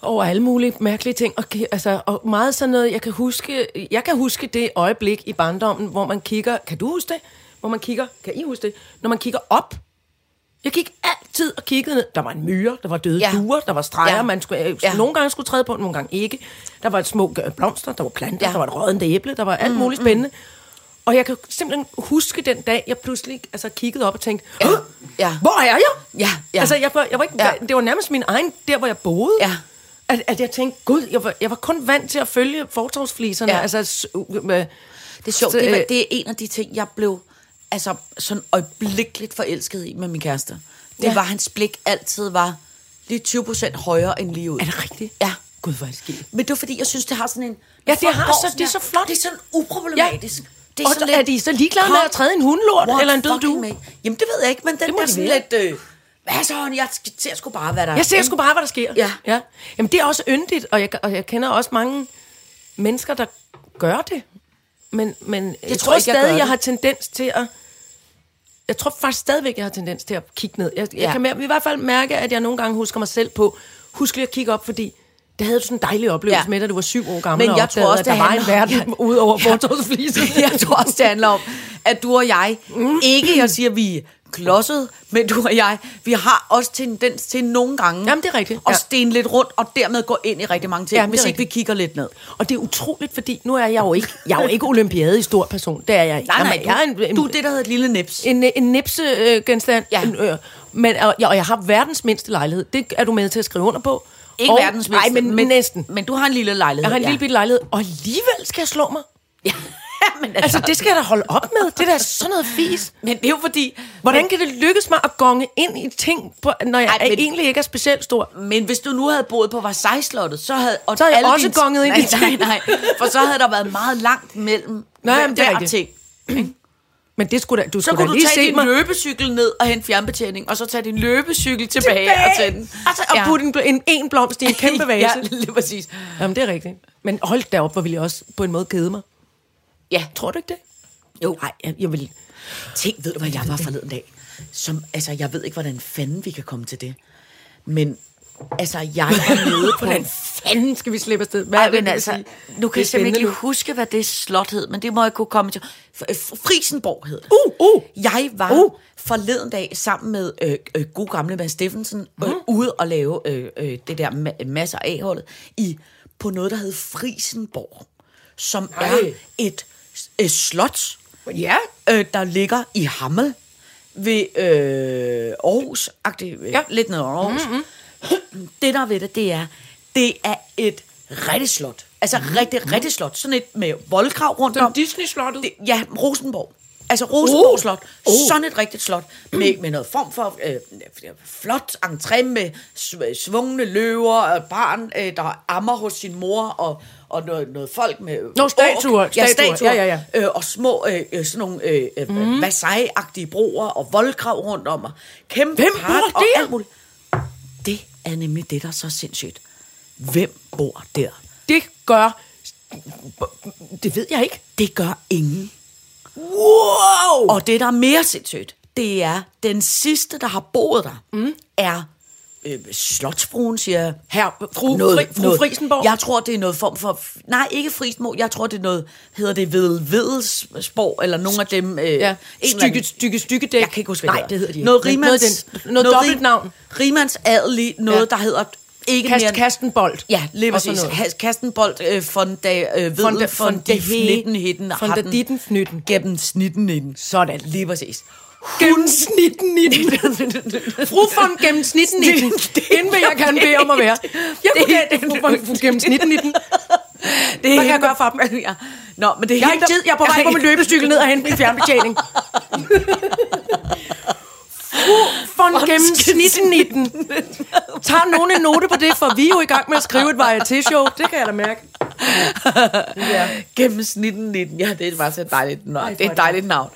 Speaker 3: over alle mulige mærkelige ting. Og, ki- altså, og meget sådan noget, jeg kan, huske, jeg kan huske det øjeblik i barndommen, hvor man kigger, kan du huske det? Hvor man kigger, kan I huske det? Når man kigger op. Jeg gik altid og kiggede ned. Der var en myre, der var døde ja.
Speaker 4: Ja.
Speaker 3: duer, der var streger, ja.
Speaker 4: Ja.
Speaker 3: man skulle, øh,
Speaker 4: Ja.
Speaker 3: nogle gange skulle træde på, nogle gange ikke. Der var et små øh, blomster, der var planter, ja.
Speaker 4: Ja.
Speaker 3: der var et rådent æble, der var alt mm, muligt spændende. Og jeg kan simpelthen huske den dag, jeg pludselig altså, kiggede op og tænkte, ja.
Speaker 4: Ja.
Speaker 3: hvor er jeg?
Speaker 4: Ja, ja.
Speaker 3: Altså, jeg var, jeg var ikke, ja.
Speaker 4: Ja.
Speaker 3: det var nærmest min egen, der hvor jeg boede.
Speaker 4: Ja.
Speaker 3: At, at jeg tænkte, gud, jeg var, jeg var kun vant til at følge fortovsfliserne. Ja.
Speaker 4: Ja.
Speaker 3: Altså, s- u- med,
Speaker 4: Det er sjovt.
Speaker 3: Så,
Speaker 4: Det, var,
Speaker 3: øh,
Speaker 4: det er en af de ting, jeg blev altså, sådan øjeblikkeligt forelsket i med min kæreste. Det
Speaker 3: Ja.
Speaker 4: ja. var, at hans blik altid var lige 20 procent højere end lige ud.
Speaker 3: er det rigtigt?
Speaker 4: Ja.
Speaker 3: Gud, hvor er det skidt.
Speaker 4: Men det var fordi, jeg synes, det har sådan en...
Speaker 3: Ja, det
Speaker 4: Folk
Speaker 3: har
Speaker 4: går
Speaker 3: så-
Speaker 4: sådan
Speaker 3: det er
Speaker 4: her,
Speaker 3: så flot.
Speaker 4: Det er sådan uproblematisk.
Speaker 3: Ja.
Speaker 4: Ja.
Speaker 3: Det er, og sådan lidt, er de så ligeglade med at træde en hundelort
Speaker 4: What
Speaker 3: eller en død
Speaker 4: fucking
Speaker 3: due?
Speaker 4: man? Jamen, det ved jeg ikke, men den
Speaker 3: Det må
Speaker 4: der
Speaker 3: de
Speaker 4: sådan lidt... Øh, hvad så, Ronny? jeg sk- ser sgu bare, hvad der
Speaker 3: Jeg ser sgu bare, hvad der sker.
Speaker 4: Ja.
Speaker 3: ja. Jamen, det er også yndigt, og jeg, og jeg kender også mange mennesker, der gør det. Men, men jeg, jeg
Speaker 4: tror
Speaker 3: tror
Speaker 4: ikke, jeg
Speaker 3: stadig,
Speaker 4: gør
Speaker 3: jeg,
Speaker 4: det.
Speaker 3: har tendens til at... Jeg tror faktisk stadigvæk, jeg har tendens til at kigge ned. Jeg, jeg
Speaker 4: Ja.
Speaker 3: ja. kan mær- i hvert fald mærke, at jeg nogle gange husker mig selv på, husk lige at kigge op, fordi det havde du sådan en dejlig oplevelse
Speaker 4: Ja.
Speaker 3: ja. med, da du var syv år gammel
Speaker 4: Men
Speaker 3: og
Speaker 4: jeg
Speaker 3: opdagede,
Speaker 4: tror også,
Speaker 3: at
Speaker 4: det
Speaker 3: der var en
Speaker 4: handler-
Speaker 3: verden ja. ude over fortovsflisen.
Speaker 4: jeg tror også, det handler om, at du og jeg,
Speaker 3: Mm.
Speaker 4: ikke jeg siger, vi er klodset, men du og jeg, vi har også tendens til nogle gange
Speaker 3: Jamen, det er rigtigt,
Speaker 4: at
Speaker 3: ja.
Speaker 4: stene lidt rundt, og dermed gå ind i rigtig mange ting,
Speaker 3: Jamen, det er
Speaker 4: hvis ikke vi
Speaker 3: rigtigt.
Speaker 4: kigger lidt ned.
Speaker 3: Og det er utroligt, fordi nu er jeg jo ikke, jeg er jo ikke olympiade i stor person. Det er jeg ikke.
Speaker 4: Nej, nej,
Speaker 3: Jamen, jeg
Speaker 4: du,
Speaker 3: er en, en,
Speaker 4: du er det, der hedder et lille nips.
Speaker 3: en, en nipsegenstand.
Speaker 4: Ja.
Speaker 3: En, øh, men, og, jeg, og jeg har verdens mindste lejlighed. Det er du med til at skrive under på.
Speaker 4: Ikke
Speaker 3: og,
Speaker 4: verdens mindste,
Speaker 3: Nej, men, men næsten.
Speaker 4: Men du har en lille lejlighed.
Speaker 3: Jeg har en
Speaker 4: ja.
Speaker 3: lille bitte lejlighed, og alligevel skal jeg slå mig.
Speaker 4: Ja, men altså,
Speaker 3: Altså, det skal jeg da holde op med. Det er da sådan noget fis.
Speaker 4: men det er jo fordi...
Speaker 3: Hvordan kan det lykkes mig at gonge ind i ting, på, når jeg
Speaker 4: Ej,
Speaker 3: Ej,
Speaker 4: men-
Speaker 3: egentlig ikke er specielt stor?
Speaker 4: Men hvis du nu havde boet på Versailles-slottet, så havde... Og
Speaker 3: Så havde jeg
Speaker 4: alle
Speaker 3: også gonget ind i
Speaker 4: nej, nej,
Speaker 3: ting.
Speaker 4: nej, for så havde der været meget langt mellem
Speaker 3: Nej,
Speaker 4: hver,
Speaker 3: jamen, det er
Speaker 4: hver
Speaker 3: rigtigt.
Speaker 4: ting.
Speaker 3: Men det skulle da, du
Speaker 4: Så
Speaker 3: skulle da
Speaker 4: kunne du
Speaker 3: lige
Speaker 4: tage
Speaker 3: se
Speaker 4: din
Speaker 3: mig.
Speaker 4: løbecykel ned og hente fjernbetjening, og så tage din løbecykel tilbage, og tænde den.
Speaker 3: Altså, og putte en, en, en blomst i en kæmpe vase.
Speaker 4: Ja,
Speaker 3: ja.
Speaker 4: lige præcis.
Speaker 3: Jamen, det er rigtigt. Men hold da op, hvor ville jeg også på en måde kede mig.
Speaker 4: Ja,
Speaker 3: Tror du ikke det?
Speaker 4: jo.
Speaker 3: Nej, jeg, jeg vil...
Speaker 4: Tænk, ved du, hvad jeg var forleden dag? Som, altså, jeg ved ikke, hvordan fanden vi kan komme til det. Men, altså, jeg var nede på...
Speaker 3: Hvordan fanden skal vi slippe afsted? Hvad
Speaker 4: Ej,
Speaker 3: er det,
Speaker 4: men
Speaker 3: du
Speaker 4: altså,
Speaker 3: vil sige?
Speaker 4: nu kan
Speaker 3: Det er
Speaker 4: jeg simpelthen ikke lige
Speaker 3: spændende
Speaker 4: huske, hvad det slot hed, men det må jeg kunne komme til. F- øh, F- Frisenborg hed det.
Speaker 3: Uh, uh.
Speaker 4: Jeg var uh.
Speaker 3: Uh.
Speaker 4: forleden dag sammen med øh, øh, god gamle Mads Steffensen øh,
Speaker 3: Mm-hmm.
Speaker 4: ude og lave øh, øh, det der ma- masser af holdet i på noget, der hed Frisenborg, som Nej. er et øh, slot,
Speaker 3: nu. uh! Ja.
Speaker 4: øh, der ligger i Hammel ved øh, Aarhus, øh, ja.
Speaker 3: Ja.
Speaker 4: lidt ned over Aarhus. Mm-hmm. Det der er ved det, det er, det er et rigtig slot. Altså mm-hmm. rigtig, rigtig slot. Sådan et med voldkrav rundt om.
Speaker 3: Disney-slottet.
Speaker 4: Det, ja, Rosenborg. Altså Rosenborg
Speaker 3: Uh!
Speaker 4: Slot.
Speaker 3: Uh!
Speaker 4: Sådan et rigtigt slot. Med, med noget form for øh, flot entré med sv- svungne løver, øh, barn, øh, der ammer hos sin mor, og, og noget, noget folk med...
Speaker 3: Nå, statuer,
Speaker 4: Ork. Ja,
Speaker 3: statuer.
Speaker 4: statuer.
Speaker 3: Ja, ja, Mhm.
Speaker 4: Øh, og små øh, øh, sådan nogle øh, øh, Versailles-agtige broer og voldkrav rundt om. Og kæmpe
Speaker 3: Hvem
Speaker 4: park
Speaker 3: bor
Speaker 4: og
Speaker 3: der?
Speaker 4: alt muligt. Det er nemlig det, der er så sindssygt. Hvem bor der?
Speaker 3: Det gør... Det ved jeg ikke.
Speaker 4: Det gør ingen.
Speaker 3: Wow!
Speaker 4: Og det, der er mere sindssygt, det er, den sidste, der har boet der, mm. er øh, slotsfruen, siger
Speaker 3: Her, fru, fri, fru Frisenborg.
Speaker 4: Jeg tror, det er noget form for... Nej, ikke Frisenborg. Jeg tror, det er noget... Hedder det ved Vedelsborg, eller nogle af dem... Øh,
Speaker 3: Ja,
Speaker 4: en eller anden-
Speaker 3: stykke, stykke, stykke dæk.
Speaker 4: Jeg kan ikke huske, hvad
Speaker 3: Nej, det hedder de ikke.
Speaker 4: Noget
Speaker 3: Men
Speaker 4: Riemanns...
Speaker 3: Noget, den, noget, noget dobbelt navn.
Speaker 4: Riemanns adelig, noget, ja.
Speaker 3: Ja.
Speaker 4: der hedder... Ikke mere,
Speaker 3: Kast,
Speaker 4: end-
Speaker 3: kast en bold.
Speaker 4: Ja, lige
Speaker 3: Og sådan
Speaker 4: præcis.
Speaker 3: noget.
Speaker 4: Ha- Kastenbold øh, von da øh,
Speaker 3: Von
Speaker 4: Vedel,
Speaker 3: der-
Speaker 4: von
Speaker 3: von
Speaker 4: de
Speaker 3: de he-
Speaker 4: Hitten, Hitten,
Speaker 3: von der ditten fnytten.
Speaker 4: Gennem snitten inden.
Speaker 3: Sådan.
Speaker 4: Lige præcis.
Speaker 3: Gennemsnitten i den. Fru von gennemsnitten i den. Hende vil jeg gerne bede om at være. Jeg kunne
Speaker 4: Det-
Speaker 3: det, det, fru von fru gennemsnitten i den.
Speaker 4: Det er
Speaker 3: Hvad kan jeg gøre
Speaker 4: for dem? ja. Nå, men det er
Speaker 3: Jeg har
Speaker 4: hende,
Speaker 3: ikke tid. Jeg er på vej på min løbecykel ned og hente min fjernbetjening. Fru von gennemsnitten i den. Tager nogen en note på det, for vi er jo i gang med at skrive et varieté-show. Det kan jeg da mærke.
Speaker 4: Gennemsnitten 19. Ja, det er bare så dejligt. Nå,
Speaker 3: Ej,
Speaker 4: det er
Speaker 3: hvor
Speaker 4: et
Speaker 3: er det
Speaker 4: dejligt navn.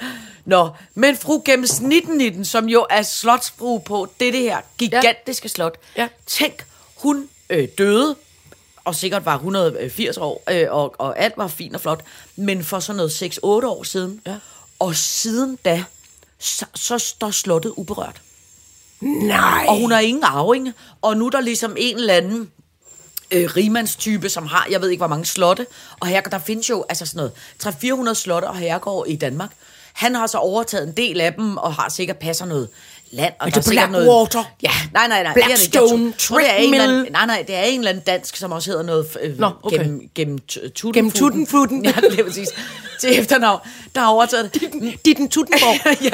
Speaker 4: Nå, men fru Gennemsnitten 19, som jo er slotsfru på det, det her gigantiske ja. slot.
Speaker 3: Ja.
Speaker 4: Tænk, hun øh, døde, og sikkert var 180 år, øh, og, og alt var fint og flot, men for sådan noget 6-8 år siden.
Speaker 3: Ja.
Speaker 4: Og siden da, så, så står slottet uberørt.
Speaker 3: Nej.
Speaker 4: Og hun har ingen arving, og nu er der ligesom en eller anden øh, rigmandstype, som har, jeg ved ikke, hvor mange slotte, og her, der findes jo altså sådan noget 300-400 slotte og herregård i Danmark. Han har så overtaget en del af dem, og har sikkert passer noget land. Og
Speaker 3: Er
Speaker 4: der
Speaker 3: det
Speaker 4: sikkert
Speaker 3: Blackwater?
Speaker 4: Noget, ja, nej, nej, nej. det er det ikke.
Speaker 3: Blackstone?
Speaker 4: Jeg tror, det er en eller anden-
Speaker 3: Treadmill?
Speaker 4: Nej, nej, det er en eller anden dansk, som også hedder noget øh,
Speaker 3: Nå, okay.
Speaker 4: gennem, gennem, t- tuttenfuten.
Speaker 3: Gennem tuttenfuten.
Speaker 4: Ja, det er præcis. Til efternavn, der har overtaget det.
Speaker 3: De er den Tuttenborg.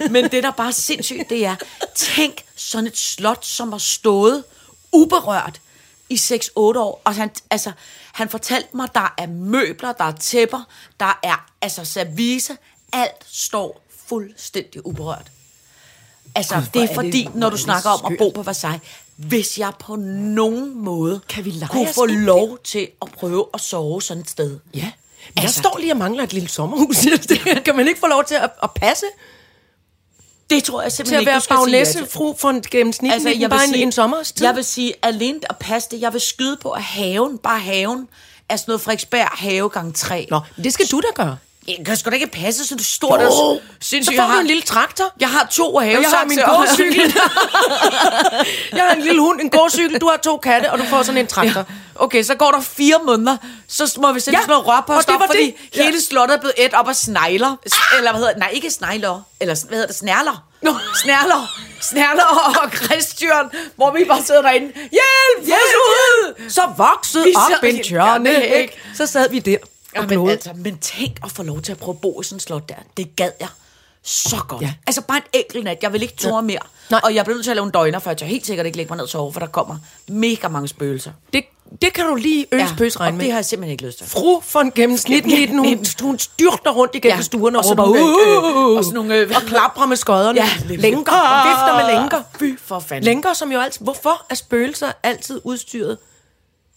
Speaker 4: ja. Men det, der bare er sindssygt, det er, tænk sådan et slot, som har stået uberørt i 6-8 år. Og han, altså, han fortalte mig, der er møbler, der er tæpper, der er altså service. Alt står fuldstændig uberørt. Altså, det er
Speaker 3: er
Speaker 4: fordi,
Speaker 3: det- hvor
Speaker 4: når
Speaker 3: er
Speaker 4: du
Speaker 3: det
Speaker 4: snakker om at
Speaker 3: skørt.
Speaker 4: bo på Versailles, hvis jeg på nogen måde
Speaker 3: Kan vi leje
Speaker 4: kunne
Speaker 3: os
Speaker 4: få
Speaker 3: ind
Speaker 4: lov til at prøve at sove sådan et sted.
Speaker 3: Ja. Men jeg står lige og mangler et lille sommerhus. Det kan man ikke få lov til at, at passe
Speaker 4: Det tror jeg
Speaker 3: til
Speaker 4: simpelthen
Speaker 3: at
Speaker 4: ikke,
Speaker 3: være
Speaker 4: du skal sige ja til.
Speaker 3: bagnæsse fru for en gennemsnit, altså, jeg bare sige, en, en sommerstid.
Speaker 4: Jeg vil sige, alene at passe det, jeg vil skyde på, at haven, bare haven, er sådan noget Frederiksberg have gang 3.
Speaker 3: Nå, men det skal du da gøre.
Speaker 4: Jeg kan sgu da ikke passe sådan et stort
Speaker 3: Jo,
Speaker 4: og
Speaker 3: så
Speaker 4: sindssygt.
Speaker 3: får
Speaker 4: jeg
Speaker 3: du
Speaker 4: har-
Speaker 3: en lille traktor.
Speaker 4: Jeg har to have.
Speaker 3: Og jeg har min gåcykel. jeg har en lille hund, en gåcykel, du har to katte, og du får sådan en traktor.
Speaker 4: Okay, så går der fire måneder, så må vi sætte
Speaker 3: Ja,
Speaker 4: ja, sådan noget
Speaker 3: og
Speaker 4: rørpost
Speaker 3: det
Speaker 4: op,
Speaker 3: var
Speaker 4: fordi
Speaker 3: det. Ja.
Speaker 4: det. hele slottet er blevet et op af snegler. Ah! Eller hvad hedder det? Nej, ikke snegler. Eller sådan- hvad hedder det? Snærler.
Speaker 3: Nå.
Speaker 4: Snærler. Snærler og Christian, hvor vi bare sidder derinde. Hjælp! Hjælp! Hjælp!
Speaker 3: Så voksede
Speaker 4: Vi
Speaker 3: op
Speaker 4: sad
Speaker 3: en
Speaker 4: helt
Speaker 3: tjørne,
Speaker 4: gamle,
Speaker 3: ikke? Så sad vi der og
Speaker 4: men,
Speaker 3: glodede.
Speaker 4: altså, men tænk at få lov til at prøve at bo i sådan et slot der. Det gad jeg så godt.
Speaker 3: Ja.
Speaker 4: Ja. Altså bare en enkelt nat. Jeg vil ikke tåre mere.
Speaker 3: Nej.
Speaker 4: Nej. Og jeg bliver nødt til at lave en døgner, for jeg tør helt sikkert ikke lægge mig ned og sove, for der kommer mega mange spøgelser.
Speaker 3: Det, det kan du lige øse pøs regne
Speaker 4: og det
Speaker 3: med.
Speaker 4: har jeg simpelthen ikke lyst til.
Speaker 3: Fru for en gennemsnit, hun, hun styrter rundt igennem ja. stuen og, og råber,
Speaker 4: sådan nogle, øh,
Speaker 3: uh, uh,
Speaker 4: og sådan nogle, øh,
Speaker 3: og klapper med skodderne.
Speaker 4: Ja.
Speaker 3: lænker, og vifter med lænker.
Speaker 4: Fy for fanden.
Speaker 3: Lænker, som jo altid... Hvorfor er spøgelser altid udstyret?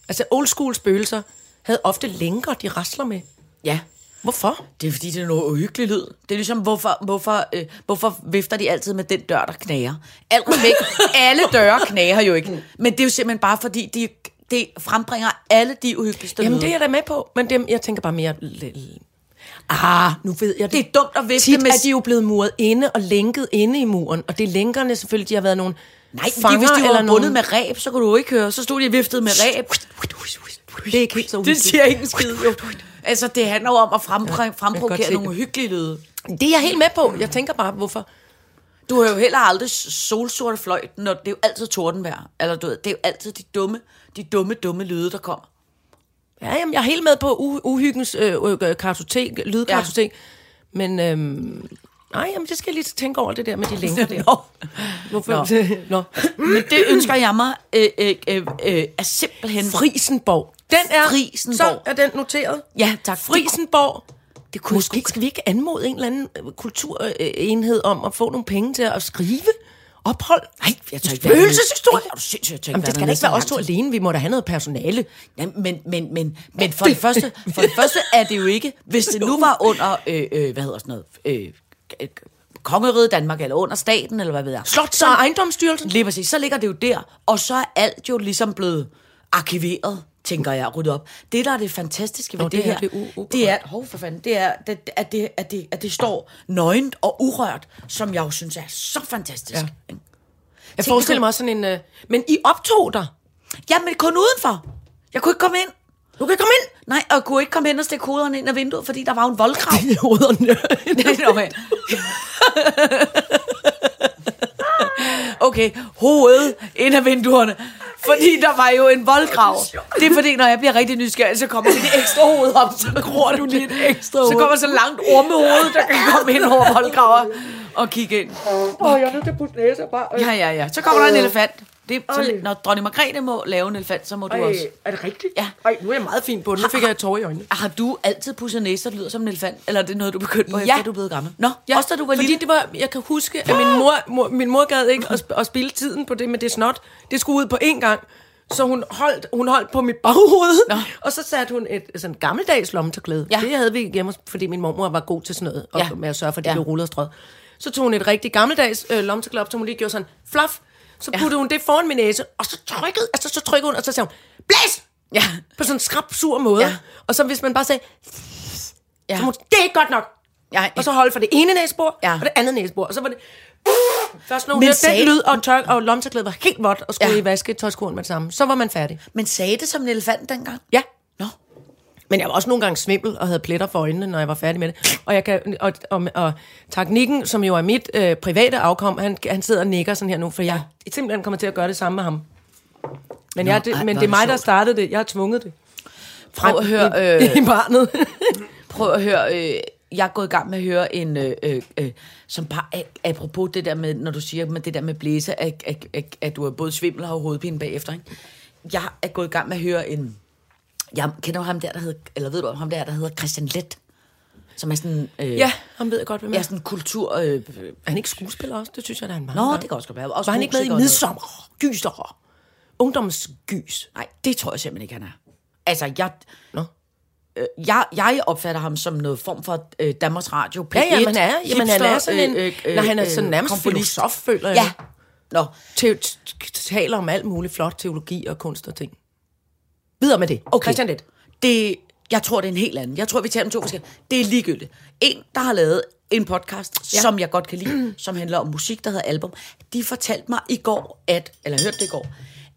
Speaker 3: Altså old school spøgelser havde ofte lænker, de rasler med.
Speaker 4: Ja.
Speaker 3: Hvorfor?
Speaker 4: Det er fordi, det er noget uhyggelig lyd. Det er ligesom, hvorfor, hvorfor, øh, hvorfor vifter de altid med den dør, der knager? Alt respekt, alle døre knager jo ikke. Men det er jo simpelthen bare fordi, de, det frembringer alle de uhyggeligste
Speaker 3: Jamen,
Speaker 4: lyde.
Speaker 3: det er jeg da med på, men det, jeg tænker bare mere... l- l- Ah, nu ved jeg det.
Speaker 4: Det er dumt at vifte
Speaker 3: Tit
Speaker 4: med
Speaker 3: er
Speaker 4: s-
Speaker 3: de jo blevet muret inde og lænket inde i muren, og det er lænkerne selvfølgelig, de har været nogle
Speaker 4: Nej, men
Speaker 3: fanger
Speaker 4: det, hvis de var
Speaker 3: eller
Speaker 4: bundet
Speaker 3: nogle...
Speaker 4: med ræb, så kunne du jo ikke høre. Så stod de og viftede med ræb.
Speaker 3: Det er ikke helt så
Speaker 4: Det
Speaker 3: uhyggeligt.
Speaker 4: siger ikke en skid, jo. Altså, det handler jo om at frempro-
Speaker 3: godt se
Speaker 4: fremprovokere
Speaker 3: det.
Speaker 4: nogle hyggelige lyde.
Speaker 3: Det er jeg helt med på. Jeg tænker bare, hvorfor...
Speaker 4: Du har jo heller aldrig solsorte fløjt, når det er jo altid tordenvejr. Eller du ved, det er jo altid de dumme, de dumme, dumme lyde, der kommer.
Speaker 3: Ja, jamen, jeg er helt med på u- uhyggens øh, øh, kartotek, lydkartotek, ja. men... Øhm, nej, jamen, det skal jeg lige tænke over det der med de lænker der.
Speaker 4: Nå.
Speaker 3: Hvorfor?
Speaker 4: Nå.
Speaker 3: Nå.
Speaker 4: Men det ønsker jeg mig øh, øh, øh, øh, er simpelthen...
Speaker 3: Frisenborg. Den er,
Speaker 4: Frisenborg.
Speaker 3: Så øh, er den noteret.
Speaker 4: Ja, tak.
Speaker 3: Frisenborg.
Speaker 4: Det kunne
Speaker 3: Måske skal vi ikke anmode en eller anden øh, kulturenhed om at få nogle penge til at skrive ophold? Nej,
Speaker 4: jeg tør ikke være
Speaker 3: Spøgelseshistorie?
Speaker 4: dernede. Ej, er du sindssyg, jeg tør ikke
Speaker 3: Jamen, det
Speaker 4: være
Speaker 3: skal da
Speaker 4: dernede
Speaker 3: ikke være
Speaker 4: så
Speaker 3: os to
Speaker 4: lang
Speaker 3: alene. Vi må da have noget personale.
Speaker 4: Ja, men, men, men, men for, det første, for det første er det jo ikke, hvis det nu var under, øh, øh, hvad hedder sådan noget, øh, øh, kongeriget Danmark, eller under staten, eller hvad ved jeg.
Speaker 3: Slots- og ejendomsstyrelsen.
Speaker 4: Lige præcis, så ligger det jo der, og så er alt jo ligesom blevet arkiveret, tænker jeg, ryddet op. Det, der er det fantastiske ved
Speaker 3: Nå,
Speaker 4: det,
Speaker 3: det her,
Speaker 4: her,
Speaker 3: det er u- uberørt.
Speaker 4: det er, hov for fanden, det er, det, at, det, at, det, at det står nøgent og urørt, som jeg jo synes er så fantastisk.
Speaker 3: Ja.
Speaker 4: Ja.
Speaker 3: Jeg forestiller mig også sådan en... Øh, men I optog dig.
Speaker 4: Ja, men kun udenfor. Jeg kunne ikke komme ind.
Speaker 3: Du kan komme ind.
Speaker 4: Nej, og jeg kunne ikke komme hen og stikke hovederne ind ad vinduet, fordi der var jo en voldkrav.
Speaker 3: I hovederne.
Speaker 4: okay. okay, hovedet ind ad vinduerne. Fordi der var jo en voldgrav. Det er fordi, når jeg bliver rigtig nysgerrig, så kommer det ekstra hoved op. Så gror du lige et ekstra hoved. Så kommer så langt ormehoved, der kan komme ind over voldgraver og kigge ind. Åh, oh, jeg er nødt til at putte næse bare. Ja, ja, ja. Så kommer der en elefant. Det, så, når dronning Margrethe må lave en elefant, så må du også.
Speaker 3: er det rigtigt?
Speaker 4: Ja.
Speaker 3: Ej, nu er jeg meget fin på den. Nu fik jeg et tår i øjnene.
Speaker 4: Har du altid pudset næse, der lyder som en elefant? Eller er det noget, du begyndte på,
Speaker 3: Ja.
Speaker 4: efter du blev gammel? Nå, ja. også da du var
Speaker 3: Fordi
Speaker 4: lille.
Speaker 3: det var, jeg kan huske, at min mor, mor, min mor gad ikke at, sp- at spille tiden på det med det snot. Det skulle ud på én gang. Så hun holdt, hun holdt på mit baghoved, Nå.
Speaker 4: Nå.
Speaker 3: og så satte hun et sådan gammeldags lommetørklæde. Ja.
Speaker 4: Ja.
Speaker 3: Det havde vi hjemme, fordi min mormor var god til sådan noget, og ja.
Speaker 4: Ja.
Speaker 3: med at sørge for, at det ja.
Speaker 4: Ja.
Speaker 3: blev rullet og strøget. Så tog hun et rigtig gammeldags øh, lommetørklæde op, som hun lige gjorde sådan, fluff, så puttede ja. hun det foran min næse, og så trykkede, altså så trykkede hun, og så sagde hun, blæs!
Speaker 4: Ja.
Speaker 3: På sådan en skrab, sur måde. Ja.
Speaker 4: Ja.
Speaker 3: Og så hvis man bare sagde, ja.
Speaker 4: Ja.
Speaker 3: så må, det er ikke godt nok.
Speaker 4: Ja,
Speaker 3: Og så holde for det ene næsebor, ja.
Speaker 4: Ja.
Speaker 3: og det andet næsebor. Og så var det... uh, Først når hun
Speaker 4: Men
Speaker 3: hørte den
Speaker 4: sagde-
Speaker 3: lyd, og, tør, og lommetørklædet var helt vådt, og skulle ja.
Speaker 4: Ja.
Speaker 3: i vaske tøjskoen med det samme. Så var man færdig.
Speaker 4: Men sagde det som en elefant dengang?
Speaker 3: Ja.
Speaker 4: Nå.
Speaker 3: Men jeg var også nogle gange svimmel og havde pletter for øjnene, når jeg var færdig med det. Og, jeg kan, og, og, og teknikken, som jo er mit øh, private afkom, han, han sidder og nikker sådan her nu, for jeg er simpelthen kommer til at gøre det samme med ham. Men, Nå, jeg, det,
Speaker 4: ej,
Speaker 3: men
Speaker 4: hvor
Speaker 3: det er
Speaker 4: er det
Speaker 3: mig, der
Speaker 4: sjovt.
Speaker 3: startede det. Jeg har tvunget det. Frem
Speaker 4: Prøv at høre,
Speaker 3: i, øh... i barnet.
Speaker 4: Prøv at høre, øh, jeg er gået i gang med at høre en, øh, øh, øh, som bare, a- apropos det der med, når du siger med det der med blæse, at, at, at, at du er både svimmel og har hovedpine bagefter, ikke? Jeg er gået i gang med at høre en, jeg kender jo ham der, der hedder, eller ved du om ham der, der hedder Christian Let, som er sådan, øh,
Speaker 3: ja, han ved jeg godt, hvem jeg
Speaker 4: er
Speaker 3: er.
Speaker 4: sådan en kultur, øh,
Speaker 3: Er han ikke skuespiller også? Det synes jeg, da han var.
Speaker 4: Nå, det kan også godt være. Også
Speaker 3: var han ikke med i
Speaker 4: musiker og noget.
Speaker 3: Midsommer? Gyser? Ungdomsgys?
Speaker 4: Nej, det tror jeg simpelthen ikke, han er. Altså, jeg...
Speaker 3: Nå.
Speaker 4: øh, jeg, jeg opfatter ham som noget form for øh, Danmarks Radio P1.
Speaker 3: Ja, ja, man er, jamen, han er sådan en, øh, øh, når han er
Speaker 4: øh,
Speaker 3: sådan nærmest
Speaker 4: komponist.
Speaker 3: filosof, øh. føler jeg.
Speaker 4: Ja. Nå,
Speaker 3: Te- t- t- taler om alt muligt flot teologi og kunst og ting. Videre med det. Okay. Christian Lett.
Speaker 4: det, jeg tror, det er en helt anden. Jeg tror, vi taler om to forskellige. Det er ligegyldigt. En, der har lavet en podcast, ja. som jeg godt kan lide, som handler om musik, der hedder Album. De fortalte mig i går, at, eller jeg hørte det i går,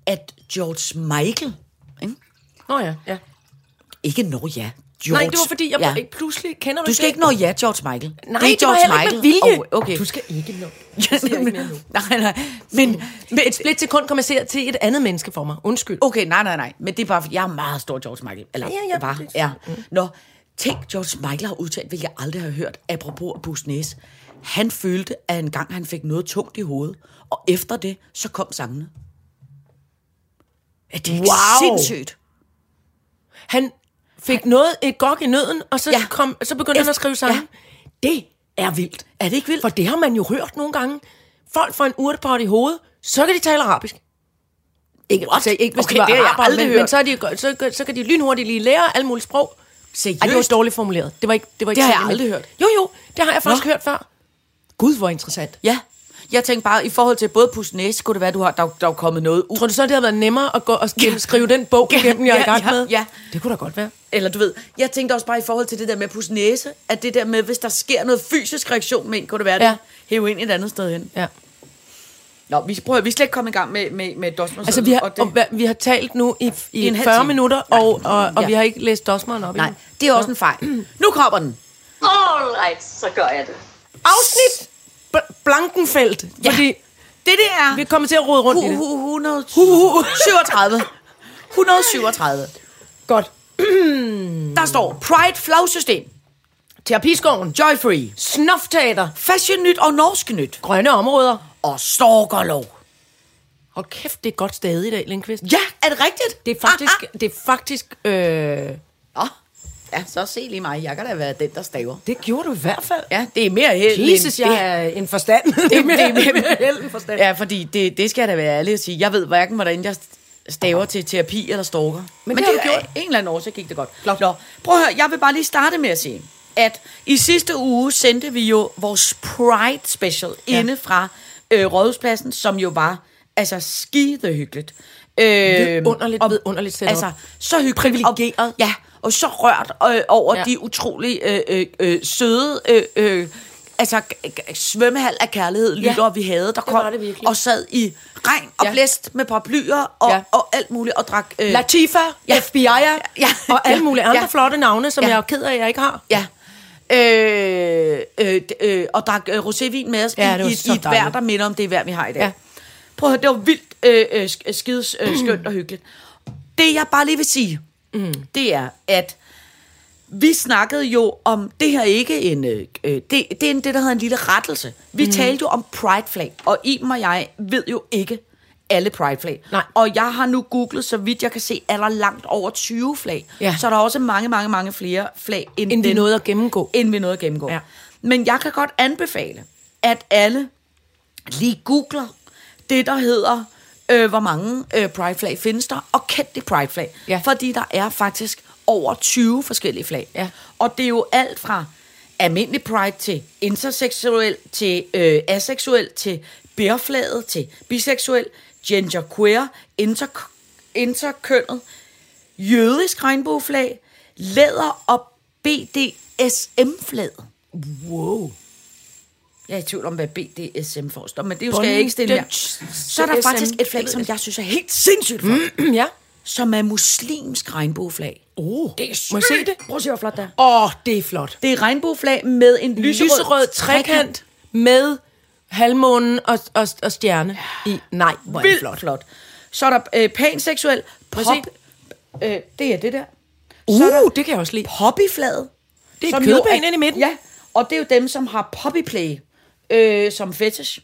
Speaker 4: at George Michael, ikke,
Speaker 3: Nå ja, ja.
Speaker 4: ikke når ja, George.
Speaker 3: Nej, det var fordi, jeg ja. ikke pludselig kender
Speaker 4: Du skal ikke nå ja, George Michael.
Speaker 3: Nej,
Speaker 4: det er
Speaker 3: det var
Speaker 4: George
Speaker 3: heller ikke
Speaker 4: Michael.
Speaker 3: med vilje.
Speaker 4: Og- okay.
Speaker 3: Du skal ikke nå.
Speaker 4: nej, nej. Men, men
Speaker 3: Et split sekund kommer til, til et andet menneske for mig. Undskyld.
Speaker 4: Okay, nej, nej, nej. Men det er bare, fordi jeg er meget stor George Michael. Eller
Speaker 3: Ja,
Speaker 4: ja,
Speaker 3: ja, Mm. ja.
Speaker 4: ja, var, ja. Nå, tænk, George Michael har udtalt, hvilket jeg aldrig har hørt, apropos Bus Næs. Han følte, at en gang han fik noget tungt i hovedet, og efter det, så kom sangene. Er det ikke
Speaker 3: Wow.
Speaker 4: sindssygt?
Speaker 3: Han fik noget, et gok i nøden, og så, ja.
Speaker 4: Ja.
Speaker 3: kom, så begyndte han at skrive sange. Ja. Det er vildt.
Speaker 4: Er det ikke vildt?
Speaker 3: For det har man jo hørt nogle gange. Folk får en urtepot i hovedet, så kan de tale arabisk. Ikke, altså, ikke hvis
Speaker 4: Okay,
Speaker 3: de var
Speaker 4: det har jeg
Speaker 3: araber,
Speaker 4: aldrig
Speaker 3: men,
Speaker 4: hørt.
Speaker 3: men så, er de, så, så, så kan de lynhurtigt lige lære alle mulige sprog.
Speaker 4: Seriøst?
Speaker 3: Ej, det var dårligt formuleret. Det, var ikke, det, var ikke
Speaker 4: Det har jeg
Speaker 3: sådan, men-
Speaker 4: aldrig hørt.
Speaker 3: Jo, jo, det har jeg faktisk Nå. hørt før. Gud, hvor interessant.
Speaker 4: Ja. Jeg tænkte bare, i forhold til både Bus Næs, skulle det være, du har, der, der er kommet noget ud.
Speaker 3: Tror du så, det havde været nemmere at gå og gennem- skrive den bog
Speaker 4: Ja,
Speaker 3: igennem, jeg er i
Speaker 4: ja,
Speaker 3: gang
Speaker 4: ja,
Speaker 3: med?
Speaker 4: ja.
Speaker 3: Det kunne da godt være.
Speaker 4: Eller du ved, jeg tænkte også bare i forhold til det der med pus næse, at det der med, hvis der sker noget fysisk reaktion med en, kunne det være, at
Speaker 3: Ja.
Speaker 4: ja. hæve ind et andet sted hen.
Speaker 3: Ja.
Speaker 4: Nå, vi, prøver, vi er slet ikke kommet i gang med, med, med Dosmer.
Speaker 3: Altså, vi har, og, hvad- vi har talt nu i, i,
Speaker 4: I en halv
Speaker 3: 40
Speaker 4: time.
Speaker 3: minutter, og, og, og ja.
Speaker 4: Ja.
Speaker 3: vi har ikke læst dosmeren op
Speaker 4: Nej,
Speaker 3: endnu.
Speaker 4: det er også en fejl. Nu kommer den.
Speaker 2: All right, så gør jeg det.
Speaker 3: Afsnit B- Blankenfeldt, ja.
Speaker 4: Ja.
Speaker 3: fordi
Speaker 4: Det, det er...
Speaker 3: vi kommer til at rode rundt i
Speaker 4: Hu-
Speaker 3: det.
Speaker 4: hu- 100 137. 137.
Speaker 3: Godt.
Speaker 4: Der står Pride flagsystem,
Speaker 3: Terapiskoven,
Speaker 4: Joy Free,
Speaker 3: Snofteater,
Speaker 4: Fashion Nyt og Norsk Nyt
Speaker 3: Grønne Områder.
Speaker 4: og Storkerlov.
Speaker 3: Hold kæft, det er et godt sted i dag, Lindqvist.
Speaker 4: Ja, er det rigtigt?
Speaker 3: Det er faktisk,
Speaker 4: Ah,
Speaker 3: det er faktisk øh,
Speaker 4: ah. Nå, Ja, så se lige mig. Jeg kan da være den, der staver.
Speaker 3: det gjorde du i hvert fald.
Speaker 4: Ja, det er mere held. end-
Speaker 3: Jesus,
Speaker 4: det-
Speaker 3: jeg er en forstand. det
Speaker 4: det, det, det,
Speaker 3: held end forstand.
Speaker 4: Ja, fordi det, det skal jeg da være ærlig at sige. Jeg ved hverken, hvordan jeg staver til terapi eller stalker. Men,
Speaker 3: det
Speaker 4: Men
Speaker 3: har
Speaker 4: det,
Speaker 3: du
Speaker 4: er
Speaker 3: gjort.
Speaker 4: en eller anden år, så gik det godt. Nå, prøv at høre, jeg vil bare lige starte med at sige, at i sidste uge sendte vi jo vores Pride special ja. inde fra øh, Rådhuspladsen, som jo var altså skidehyggeligt. Øh,
Speaker 3: Underligt,
Speaker 4: og-
Speaker 3: ved underligt setup.
Speaker 4: Altså, så hyggeligt.
Speaker 3: Privilegeret.
Speaker 4: Og, ja, og så rørt øh, over
Speaker 3: Ja.
Speaker 4: ja. de utrolig øh, øh, øh, søde... Øh, øh, Altså g- g- svømmehal af kærlighed, lytter, vi havde, der
Speaker 3: var det virkelig.
Speaker 4: og sad i regn og
Speaker 3: Ja.
Speaker 4: ja. blæst med paraplyer og,
Speaker 3: Ja.
Speaker 4: ja. og alt muligt og drak... Øh,
Speaker 3: Latifa, ja.
Speaker 4: Ja.
Speaker 3: FBI'er ja.
Speaker 4: Ja.
Speaker 3: og alle
Speaker 4: Ja.
Speaker 3: mulige andre ja.
Speaker 4: Ja.
Speaker 3: flotte navne, som ja.
Speaker 4: Ja.
Speaker 3: jeg er ked af, at jeg ikke har.
Speaker 4: Ja. Øh, øh, d- øh, og drak øh, rosévin med os
Speaker 3: Ja, det
Speaker 4: ja, i,
Speaker 3: var
Speaker 4: i,
Speaker 3: så
Speaker 4: i et vejr,
Speaker 3: dejligt.
Speaker 4: der minder om det vejr, vi har i dag.
Speaker 3: Ja.
Speaker 4: Ja. Prøv at høre, det var vildt øh, øh, sk- skide øh, skønt og hyggeligt. Det jeg bare lige vil sige, mm. det er, at vi snakkede jo om, det her er ikke en, øh, øh, det, det er en, det, der hedder en lille rettelse. Vi mm. talte jo om Pride flag, og Iben og jeg ved jo ikke alle Pride flag.
Speaker 3: Nej.
Speaker 4: Og jeg har nu googlet, så vidt jeg kan se, er der langt over 20 flag.
Speaker 3: Ja.
Speaker 4: Så der er også mange, mange, mange flere flag, end,
Speaker 3: End vi
Speaker 4: den-
Speaker 3: nåede at gennemgå.
Speaker 4: End vi nåede at gennemgå.
Speaker 3: Ja.
Speaker 4: Men jeg kan godt anbefale, at alle lige googler det, der hedder, øh, hvor mange øh, pride flag findes der, og kendte pride flag.
Speaker 3: Ja.
Speaker 4: Fordi der er faktisk over 20 forskellige flag.
Speaker 3: Ja.
Speaker 4: Og det er jo alt fra almindelig pride til interseksuel, til øh, aseksuel, til bæreflaget, til biseksuel, genderqueer, inter, interkønnet, jødisk regnbueflag, læder og BDSM-flaget.
Speaker 3: Wow.
Speaker 4: Jeg er i tvivl om, hvad BDSM for står, men det er jo skal
Speaker 3: Bondage
Speaker 4: jeg ikke stille her. Så er der
Speaker 3: SM.
Speaker 4: faktisk et flag, som jeg synes er helt sindssygt flot, mm.
Speaker 3: Ja.
Speaker 4: som er muslimsk regnbueflag.
Speaker 3: Oh.
Speaker 4: Det er
Speaker 3: Må jeg se det?
Speaker 4: Prøv at se, hvor flot det er.
Speaker 3: Åh, oh, det er flot.
Speaker 4: Det er regnbueflag med en lyserød,
Speaker 3: Lyserød trekant med halvmånen og, og, og stjerne i. Nej, hvor er det
Speaker 4: Vildt
Speaker 3: flot.
Speaker 4: flot. flot. Så er der øh, panseksuel pop.
Speaker 3: at se.
Speaker 4: Øh, det er det der. Så er der
Speaker 3: Uh, det kan jeg også lide.
Speaker 4: poppyflaget.
Speaker 3: Det er
Speaker 4: som
Speaker 3: et
Speaker 4: jo
Speaker 3: kødben inde i midten.
Speaker 4: Ja, og det er jo dem, som har poppyplay øh, som fetish.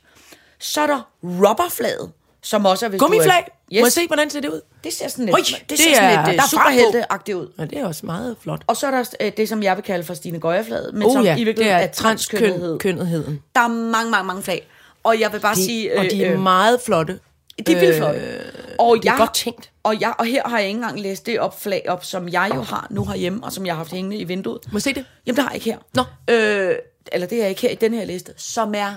Speaker 4: Så er der rubberflaget, som også er... hvis du er-
Speaker 3: Gummiflag. Yes. Må jeg
Speaker 4: Yes.
Speaker 3: se, hvordan ser det ud?
Speaker 4: Det ser sådan
Speaker 3: Ui,
Speaker 4: lidt, det,
Speaker 3: det
Speaker 4: det ser
Speaker 3: er-
Speaker 4: sådan
Speaker 3: der
Speaker 4: lidt uh,
Speaker 3: er fart på.
Speaker 4: superhelteagtigt ud.
Speaker 3: Ja, det er også meget flot.
Speaker 4: Og så er der øh, det, som jeg vil kalde for Stine Gøjerflaget, men
Speaker 3: Oh
Speaker 4: som
Speaker 3: ja,
Speaker 4: i
Speaker 3: det
Speaker 4: virkeligheden
Speaker 3: er
Speaker 4: er transkønnethed.
Speaker 3: transkønnetheden.
Speaker 4: Der er mange, mange, mange flag. Og jeg vil bare
Speaker 3: De,
Speaker 4: sige...
Speaker 3: og de er
Speaker 4: øh,
Speaker 3: meget flotte.
Speaker 4: De er vildt flotte. Og jeg,
Speaker 3: godt tænkt.
Speaker 4: Og, jeg, og her har jeg ikke engang læst det opflag op, som jeg jo har nu herhjemme, og som jeg har haft hængende i vinduet.
Speaker 3: Må jeg se det?
Speaker 4: Jamen, det har jeg ikke her.
Speaker 3: Nå.
Speaker 4: Øh, eller det er ikke her i den her liste, som er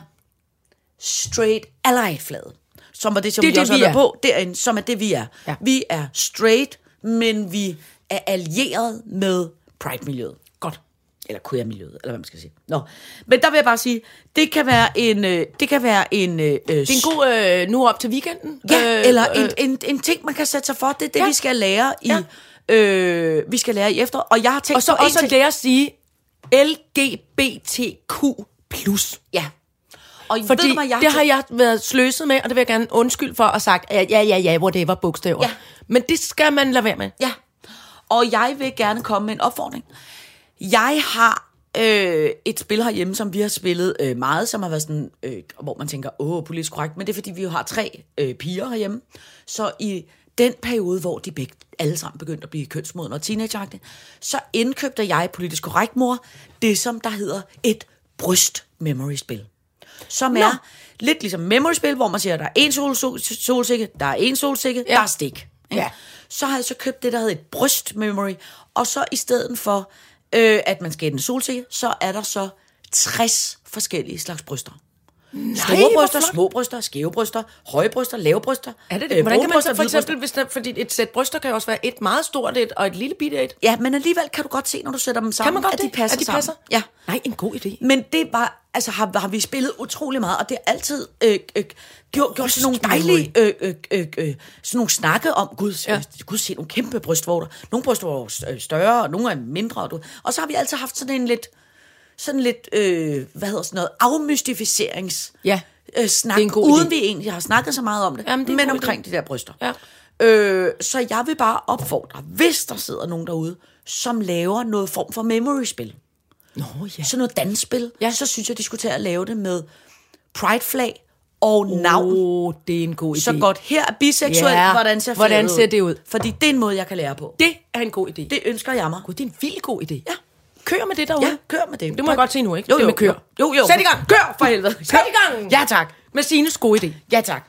Speaker 4: straight ally-flade. Som var det, som
Speaker 3: Det
Speaker 4: det
Speaker 3: er
Speaker 4: vi
Speaker 3: det,
Speaker 4: også
Speaker 3: vi
Speaker 4: har været
Speaker 3: er.
Speaker 4: på derinde, som er det, vi er.
Speaker 3: Ja.
Speaker 4: Vi er straight, men vi er allieret med Pride-miljøet.
Speaker 3: Godt.
Speaker 4: Eller queer-miljøet, eller hvad man skal sige. Nå. Men der vil jeg bare sige, det kan være en... øh, Det kan være en det
Speaker 3: Det er en god øh, nu op til weekenden.
Speaker 4: Ja, øh, eller en, en, en ting, man kan sætte sig for. Det er det,
Speaker 3: Ja.
Speaker 4: ja. vi skal lære i... Ja. Øh, vi skal lære i efter. Og jeg har tænkt
Speaker 3: Og så
Speaker 4: på en
Speaker 3: også
Speaker 4: ting-
Speaker 3: lære at sige LGBTQ+.
Speaker 4: Ja. Og
Speaker 3: Fordi
Speaker 4: ved du, hvad jeg
Speaker 3: det har jeg været sløset med, og det vil jeg gerne undskylde for, og sagt, ja, ja, ja, ja whatever, bogstaver.
Speaker 4: Ja.
Speaker 3: Men det skal man lade være med.
Speaker 4: Ja. Og jeg vil gerne komme med en opfordring. Jeg har øh, et spil herhjemme, som vi har spillet øh, meget, som har været sådan, øh, hvor man tænker, åh, politisk korrekt, men det er fordi, vi jo har tre øh, piger herhjemme. Så i den periode, hvor de begge alle sammen begyndte at blive kønsmodne og teenageagtige, så indkøbte jeg politisk korrekt, mor, det som der hedder et bryst-memory-spil. Som er lidt ligesom memory-spil, hvor man siger, der er en sol, sol, solsikke, der er en solsikke, ja. der er stik. ikke?
Speaker 3: Ja.
Speaker 4: Så har jeg så købt det, der hedder et bryst-memory, og så i stedet for, øh, at man skal have en solsikke, så er der så 60 forskellige slags bryster. Nej, Store
Speaker 3: hvor
Speaker 4: bryster,
Speaker 3: flot.
Speaker 4: små bryster, skæve bryster, høje bryster, lave bryster.
Speaker 3: Er det det? Øh, Hvordan kan man
Speaker 4: brogebryster,
Speaker 3: så for
Speaker 4: hvide bryster.
Speaker 3: eksempel, hvis der, fordi et sæt bryster kan jo også være et meget stort et, og et lille bitte et.
Speaker 4: Ja, men alligevel kan du godt se, når du sætter dem sammen,
Speaker 3: Kan man godt
Speaker 4: at de
Speaker 3: det?
Speaker 4: passer
Speaker 3: At de
Speaker 4: sammen.
Speaker 3: passer?
Speaker 4: Ja.
Speaker 3: Nej, en god idé.
Speaker 4: Men det var, altså har, har vi spillet utrolig meget, og det har altid øh, øh, gjort, gjort sådan nogle dejlige øh, øh, øh, øh, sådan nogle snakke om, gud, ja. øh, gud se nogle kæmpe brystvorter. Nogle brystvorter er jo øh, større, og nogle er mindre. og Du. Og så har vi altid haft sådan en lidt, sådan lidt, øh, hvad hedder sådan noget, afmystificerings
Speaker 3: Ja.
Speaker 4: øh, snak,
Speaker 3: Det er en god
Speaker 4: uden
Speaker 3: idé.
Speaker 4: vi egentlig har snakket så meget om det,
Speaker 3: Jamen, det er en
Speaker 4: men
Speaker 3: god
Speaker 4: omkring de der bryster.
Speaker 3: Ja.
Speaker 4: Øh, så jeg vil bare opfordre, hvis der sidder nogen derude, som laver noget form for memory-spil,
Speaker 3: Nå, ja.
Speaker 4: sådan noget dansspil,
Speaker 3: Ja.
Speaker 4: ja. så synes jeg, de skulle til at lave det med Pride-flag og oh. navn.
Speaker 3: Åh, oh, det er en god idé.
Speaker 4: Så godt, her er biseksuel,
Speaker 3: Ja.
Speaker 4: yeah. hvordan ser
Speaker 3: Hvordan
Speaker 4: flaget
Speaker 3: ser det ud?
Speaker 4: Fordi det er en måde, jeg kan lære på.
Speaker 3: Det er en god idé.
Speaker 4: Det ønsker jeg mig.
Speaker 3: Gud, det er en vild god idé.
Speaker 4: Ja.
Speaker 3: Kør med det derude.
Speaker 4: Ja, kør med det.
Speaker 3: Det må jeg godt se nu, ikke?
Speaker 4: Jo,
Speaker 3: det
Speaker 4: jo,
Speaker 3: med kør.
Speaker 4: jo, jo.
Speaker 3: Sæt i gang.
Speaker 4: Kør for helvede.
Speaker 3: Sæt i gang.
Speaker 4: Ja tak.
Speaker 3: Med Sines gode idé.
Speaker 4: Ja tak.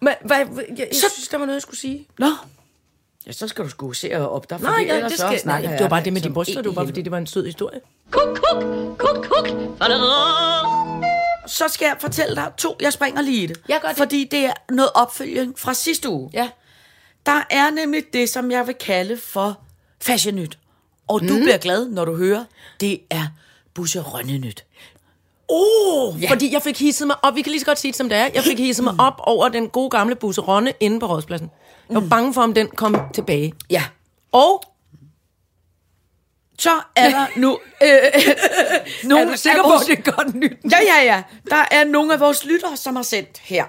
Speaker 3: Men, hvad, jeg, jeg synes, der var noget, jeg skulle sige.
Speaker 4: Nå. Ja, så skal du sgu se og op dig, for
Speaker 3: Nej,
Speaker 4: det,
Speaker 3: ja,
Speaker 4: ellers
Speaker 3: det
Speaker 4: så
Speaker 3: skal... Nej,
Speaker 4: snakker
Speaker 3: det var
Speaker 4: jeg
Speaker 3: bare det med
Speaker 4: som
Speaker 3: de bryster,
Speaker 4: en
Speaker 3: det var bare
Speaker 4: i
Speaker 3: fordi,
Speaker 4: helvede.
Speaker 3: det var en sød historie.
Speaker 2: Kuk, kuk, kuk, kuk.
Speaker 4: Så skal jeg fortælle dig to, jeg springer lige i det.
Speaker 3: Ja, gør det.
Speaker 4: Fordi det er noget opfølging fra sidste uge.
Speaker 3: Ja.
Speaker 4: Der er nemlig det, som jeg vil kalde for fashion nyt. Og du mm. bliver glad, når du hører, det er Busse Rønne nyt.
Speaker 3: Oh, ja. Fordi jeg fik hisset mig op, vi kan lige så godt sige det som det er, jeg fik hisset mig op over den gode gamle busse Ronne inde på Rådspladsen. Jeg var bange for, om den kom tilbage.
Speaker 4: Ja.
Speaker 3: Og
Speaker 4: Så er der nu... Øh, nogle
Speaker 3: er du sikker
Speaker 4: af
Speaker 3: på,
Speaker 4: vores,
Speaker 3: at det er godt nyt?
Speaker 4: Ja, ja, ja. Der er nogle af vores lyttere, som har sendt her.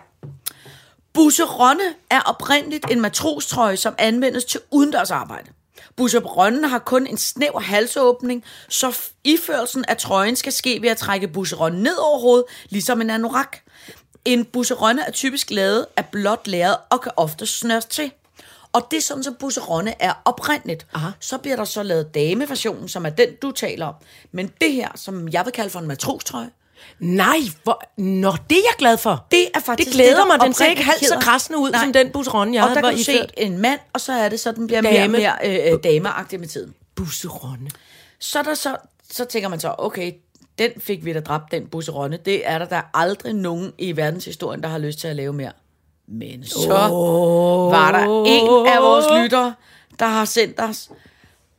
Speaker 4: Busse Rønne er oprindeligt en matrostrøje, som anvendes til udendørsarbejde. Busse Rønne har kun en snæver halsåbning, så f- iførelsen af trøjen skal ske ved at trække Busse Rønne ned over hovedet, ligesom en anorak. En Busse Rønne er typisk lavet af blåt lærred og kan ofte snøres til. Og det er sådan, som Busse Rønne er oprindeligt. Aha. Så bliver der så lavet dameversionen, som er den, du taler om. Men det her, som jeg vil kalde for en matrostrøje,
Speaker 3: Nej, hvor... Nå, det er jeg glad for.
Speaker 4: det er faktisk
Speaker 3: det glæder
Speaker 4: der
Speaker 3: mig. Den ser ikke
Speaker 4: oprindeligt
Speaker 3: halvt så
Speaker 4: hedder.
Speaker 3: krassende ud, Nej.
Speaker 4: Nej.
Speaker 3: som den bus Ronne, jeg
Speaker 4: Og der
Speaker 3: var
Speaker 4: kan du se
Speaker 3: iført.
Speaker 4: en mand, og så er det så, den bliver
Speaker 3: Dame.
Speaker 4: mere og mere øh, dameagtig med tiden.
Speaker 3: Busse Ronne.
Speaker 4: Så, er der så, så tænker man så, okay, den fik vi da dræbt, den busseronne. Det er der der er aldrig nogen i verdenshistorien, der har lyst til at lave mere. Men så oh. var der en af vores lyttere, der har sendt os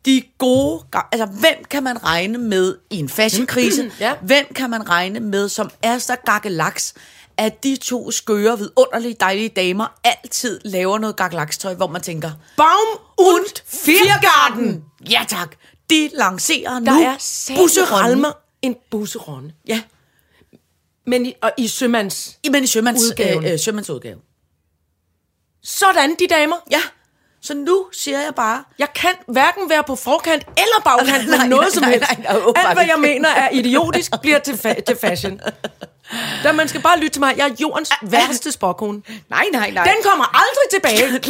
Speaker 4: de gode... ga- Altså, hvem kan man regne med i en fashionkrise?
Speaker 3: Ja.
Speaker 4: Hvem kan man regne med, som er så gakkelaks, at de to skøre, vidunderlige, dejlige damer altid laver noget gakkelakstøj, hvor man tænker,
Speaker 3: Baum und Viergarten.
Speaker 4: Fiergarten! Ja tak. De lancerer nu
Speaker 3: Der er
Speaker 4: Busse Ralme.
Speaker 3: satme en busse Ronne.
Speaker 4: Ja,
Speaker 3: Men i, og i sømands.
Speaker 4: i- men i sømands,
Speaker 3: Udgaven.
Speaker 4: øh, øh, sømandsudgave.
Speaker 3: Sådan, de damer.
Speaker 4: Ja, så nu siger jeg bare,
Speaker 3: Jeg kan hverken være på forkant eller bagkant med
Speaker 4: Nej,
Speaker 3: noget
Speaker 4: nej,
Speaker 3: som
Speaker 4: nej,
Speaker 3: helst.
Speaker 4: nej, nej, åbenbart
Speaker 3: Alt, hvad jeg
Speaker 4: ikke.
Speaker 3: mener er idiotisk, bliver til, fa- til fashion. Da man skal bare lytte til mig. Jeg er jordens værste spåkone.
Speaker 4: nej, nej, nej.
Speaker 3: Den kommer aldrig tilbage.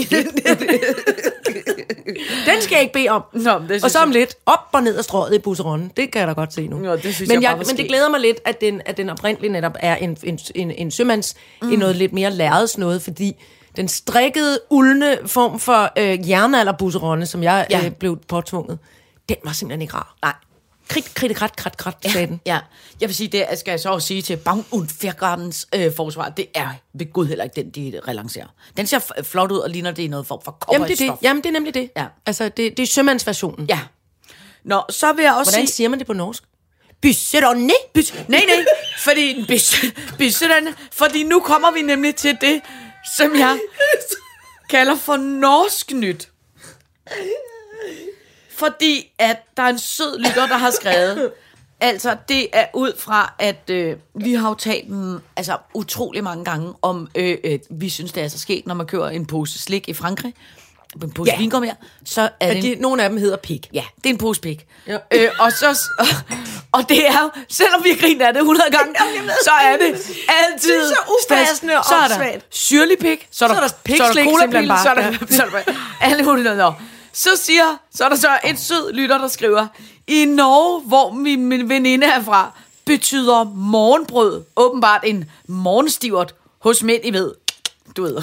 Speaker 3: Den skal jeg ikke bede om.
Speaker 4: Nå, men det synes
Speaker 3: og så om
Speaker 4: jeg-
Speaker 3: lidt op og ned af strøget i busseronden. Det kan jeg da godt se nu.
Speaker 4: Nå, det synes
Speaker 3: men
Speaker 4: jeg bare var
Speaker 3: men det
Speaker 4: skægt.
Speaker 3: glæder mig lidt, at den, at den oprindeligt netop er en, en, en, en sømands, mm. i noget lidt mere lærredes noget, fordi den strikkede, uldne form for øh, jernalderbusseronne, som jeg ja. øh, blev påtvunget, den var simpelthen ikke rar.
Speaker 4: Nej.
Speaker 3: Krit, krit, krat, krat, krat, ja. sagde den.
Speaker 4: Ja, jeg vil sige, det skal jeg så også sige til Bang und Fjergardens øh, forsvar, det er ved Gud heller ikke den, de relancerer. Den ser f- flot ud og ligner, det er noget form for
Speaker 3: Jamen det, er det,
Speaker 4: kopperstof.
Speaker 3: jamen, det er nemlig det.
Speaker 4: Ja.
Speaker 3: Altså, det, det er sømandsversionen.
Speaker 4: Ja. Nå, så vil jeg også
Speaker 3: Hvordan
Speaker 4: sige...
Speaker 3: siger man det på norsk? Bysseronne.
Speaker 4: Bys, nej, nej, fordi en bys, byssedan, fordi nu kommer vi nemlig til det, som jeg kalder for norsk nyt. Fordi at der er en sød lytter, der har skrevet, altså det er ud fra, at øh, vi har jo talt mm, altså, utrolig mange gange om, øh, øh, vi synes det er så sket, når man kører en pose slik i Frankrig, en pose
Speaker 3: Ja.
Speaker 4: ja. vingummi, så er det en
Speaker 3: De, nogle af dem hedder pik.
Speaker 4: Ja, det er en pose pik.
Speaker 3: Ja.
Speaker 4: Øh, og, så, og, og det er, jo- selvom vi griner af det 100 gange, så er det altid...
Speaker 5: Det er så upassende og
Speaker 4: Så er der
Speaker 5: åndssvagt.
Speaker 4: syrlig pik, så er der,
Speaker 5: Så er der
Speaker 4: så er
Speaker 5: pikslik
Speaker 4: der
Speaker 5: simpelthen
Speaker 4: colapil,
Speaker 5: bare.
Speaker 4: så er der, så er der alle mulige noget. Nå. Så siger, så er der så en sød lytter, der skriver, i Norge, hvor min, min veninde er fra, betyder morgenbrød åbenbart en morgenstivert hos mænd, I ved. Du ved.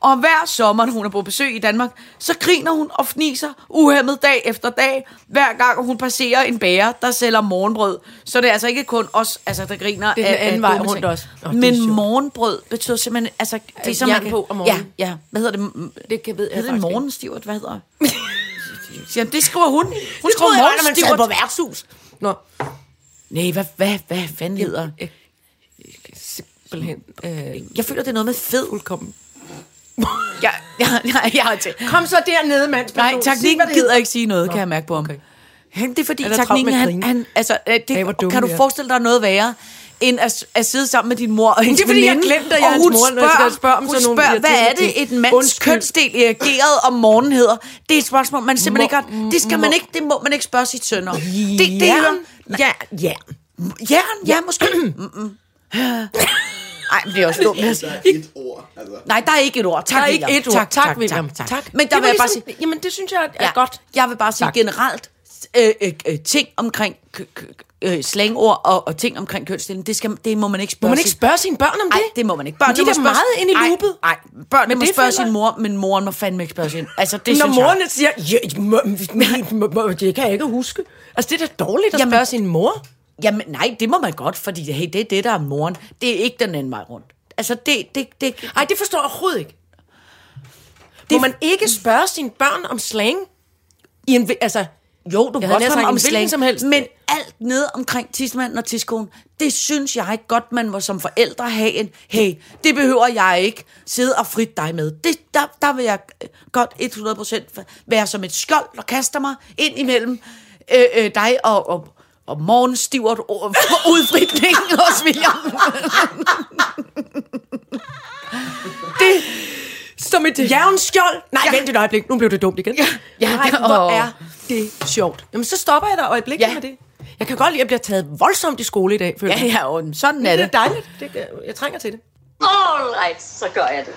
Speaker 4: Og hver sommer, når hun er på besøg i Danmark, så griner hun og fniser uhemmet dag efter dag, hver gang hun passerer en bager, der sælger morgenbrød. Så det er altså ikke kun os, altså, der griner.
Speaker 3: Det er den
Speaker 4: af- af
Speaker 3: anden vej
Speaker 4: dumme
Speaker 3: rundt
Speaker 4: ting.
Speaker 3: også. Nå, det er
Speaker 4: Men
Speaker 3: sjovt.
Speaker 4: morgenbrød betyder simpelthen, altså, det er
Speaker 3: Øh,
Speaker 4: som
Speaker 3: jern på om morgenen.
Speaker 4: Ja, ja. Hvad hedder det? M-
Speaker 3: Det kan ved jeg
Speaker 4: hedder det
Speaker 3: faktisk ikke.
Speaker 4: morgenstivert? Hvad hedder det? Jamen, det skriver hun. Hun det skriver
Speaker 3: troede jeg, når man sad
Speaker 4: morgenstivert.
Speaker 3: på værtshus. Nå,
Speaker 4: Nej, hvad, hvad, hvad fanden hedder?
Speaker 3: jeg- simpelthen. Øh,
Speaker 4: Jeg føler, det er noget med fed.
Speaker 3: fuldkommen.
Speaker 4: Jeg, jeg, jeg, jeg, jeg,
Speaker 3: Kom så dernede, mands
Speaker 4: Nej, teknikken gider ikke sige noget, Nå, kan jeg mærke på ham.
Speaker 3: okay.
Speaker 4: Okay. Han, det er fordi,
Speaker 3: Er der travlt med
Speaker 4: teknikken,
Speaker 3: at
Speaker 4: han,
Speaker 3: grine?
Speaker 4: han, altså, øh, det,
Speaker 3: Ej, hvor dumme
Speaker 4: kan du
Speaker 3: vi er.
Speaker 4: forestille dig noget værre, end at, at sidde sammen med din mor og hendes
Speaker 3: Det er fordi, jeg
Speaker 4: veninde,
Speaker 3: glemte, at jeg er
Speaker 4: og
Speaker 3: hans
Speaker 4: hun
Speaker 3: mor, når jeg skal spørge om
Speaker 4: hun
Speaker 3: sådan nogle
Speaker 4: spørger, hvad er
Speaker 3: irriterende
Speaker 4: det, et
Speaker 3: ting.
Speaker 4: mands
Speaker 3: Undskyld.
Speaker 4: kønsdel erigeret om morgenen hedder? Det er et spørgsmål, man simpelthen
Speaker 3: Mor-
Speaker 4: ikke har. Det skal man
Speaker 3: mor-
Speaker 4: ikke, det må man ikke spørge sit søn om. Det,
Speaker 3: Det,
Speaker 4: det er,
Speaker 3: ja, ja.
Speaker 4: jern, ja, måske. Nej, men det er også dumt.
Speaker 6: et ord. Altså.
Speaker 4: Nej, der er ikke et ord. Tak,
Speaker 3: Der er ikke
Speaker 4: William.
Speaker 3: et ord. Tak, tak, William.
Speaker 4: Tak,
Speaker 3: Tak.
Speaker 4: tak. Men der
Speaker 3: Det
Speaker 4: vil
Speaker 3: var
Speaker 4: jeg bare sige,
Speaker 3: ligesom- Jamen, det synes jeg er godt.
Speaker 4: Jeg vil bare sige
Speaker 3: Tak.
Speaker 4: tak. generelt, øh, øh, øh, ting omkring k- k- øh, slangord og, og ting omkring kønsdeling, det, skal, det må man ikke spørge
Speaker 3: Må man ikke spørge sine børn om det?
Speaker 4: Nej, det må man ikke. Børnene
Speaker 3: de er
Speaker 4: må
Speaker 3: da
Speaker 4: spørge-
Speaker 3: meget inde i
Speaker 4: Ej,
Speaker 3: loopet.
Speaker 4: Nej, børnene
Speaker 3: Men
Speaker 4: må
Speaker 3: det
Speaker 4: spørge
Speaker 3: føler-
Speaker 4: sin mor, men moren må fandme ikke spørge sin. Altså, det
Speaker 3: Når
Speaker 4: synes jeg.
Speaker 3: morerne siger, ja, må, må, må, må, det kan jeg ikke huske. Altså, det er da dårligt at
Speaker 4: Jamen-
Speaker 3: spørge sin mor.
Speaker 4: Jamen, nej, det må man godt, fordi hey, det er det, der er moren. Det er ikke den anden vej rundt. Altså, det... det, det
Speaker 3: Ej, det forstår jeg overhovedet ikke. Det... Må man ikke spørge sine børn om slang? I en, vi- altså,
Speaker 4: jo, du kan
Speaker 3: havde nær
Speaker 4: godt
Speaker 3: sagt
Speaker 4: spørge
Speaker 3: en
Speaker 4: om
Speaker 3: hvilken
Speaker 4: slang,
Speaker 3: som helst.
Speaker 4: men alt ned omkring tidsmanden og tidskonen, det synes jeg godt, man må som forældre have en, hey, det behøver jeg ikke sidde og frit dig med. Det, der, der vil jeg øh, godt 100% være som et skjold, der kaster mig ind imellem øh, øh, dig og, og, og morgenstivert og- udfritningen hos William.
Speaker 3: som et jernskjold. Nej, ja. vent et øjeblik. Nu blev det dumt igen. Ja.
Speaker 4: Ja,
Speaker 3: Nej, hvor
Speaker 4: og-
Speaker 3: er det sjovt. Jamen, så stopper jeg dig øjeblikket ja.
Speaker 4: Ja.
Speaker 3: med det. Jeg kan godt lide, at jeg bliver taget voldsomt i skole i dag, føler jeg.
Speaker 4: ja, og sådan er
Speaker 3: Det er dejligt. Det, jeg trænger til det.
Speaker 2: Alright, så gør jeg det.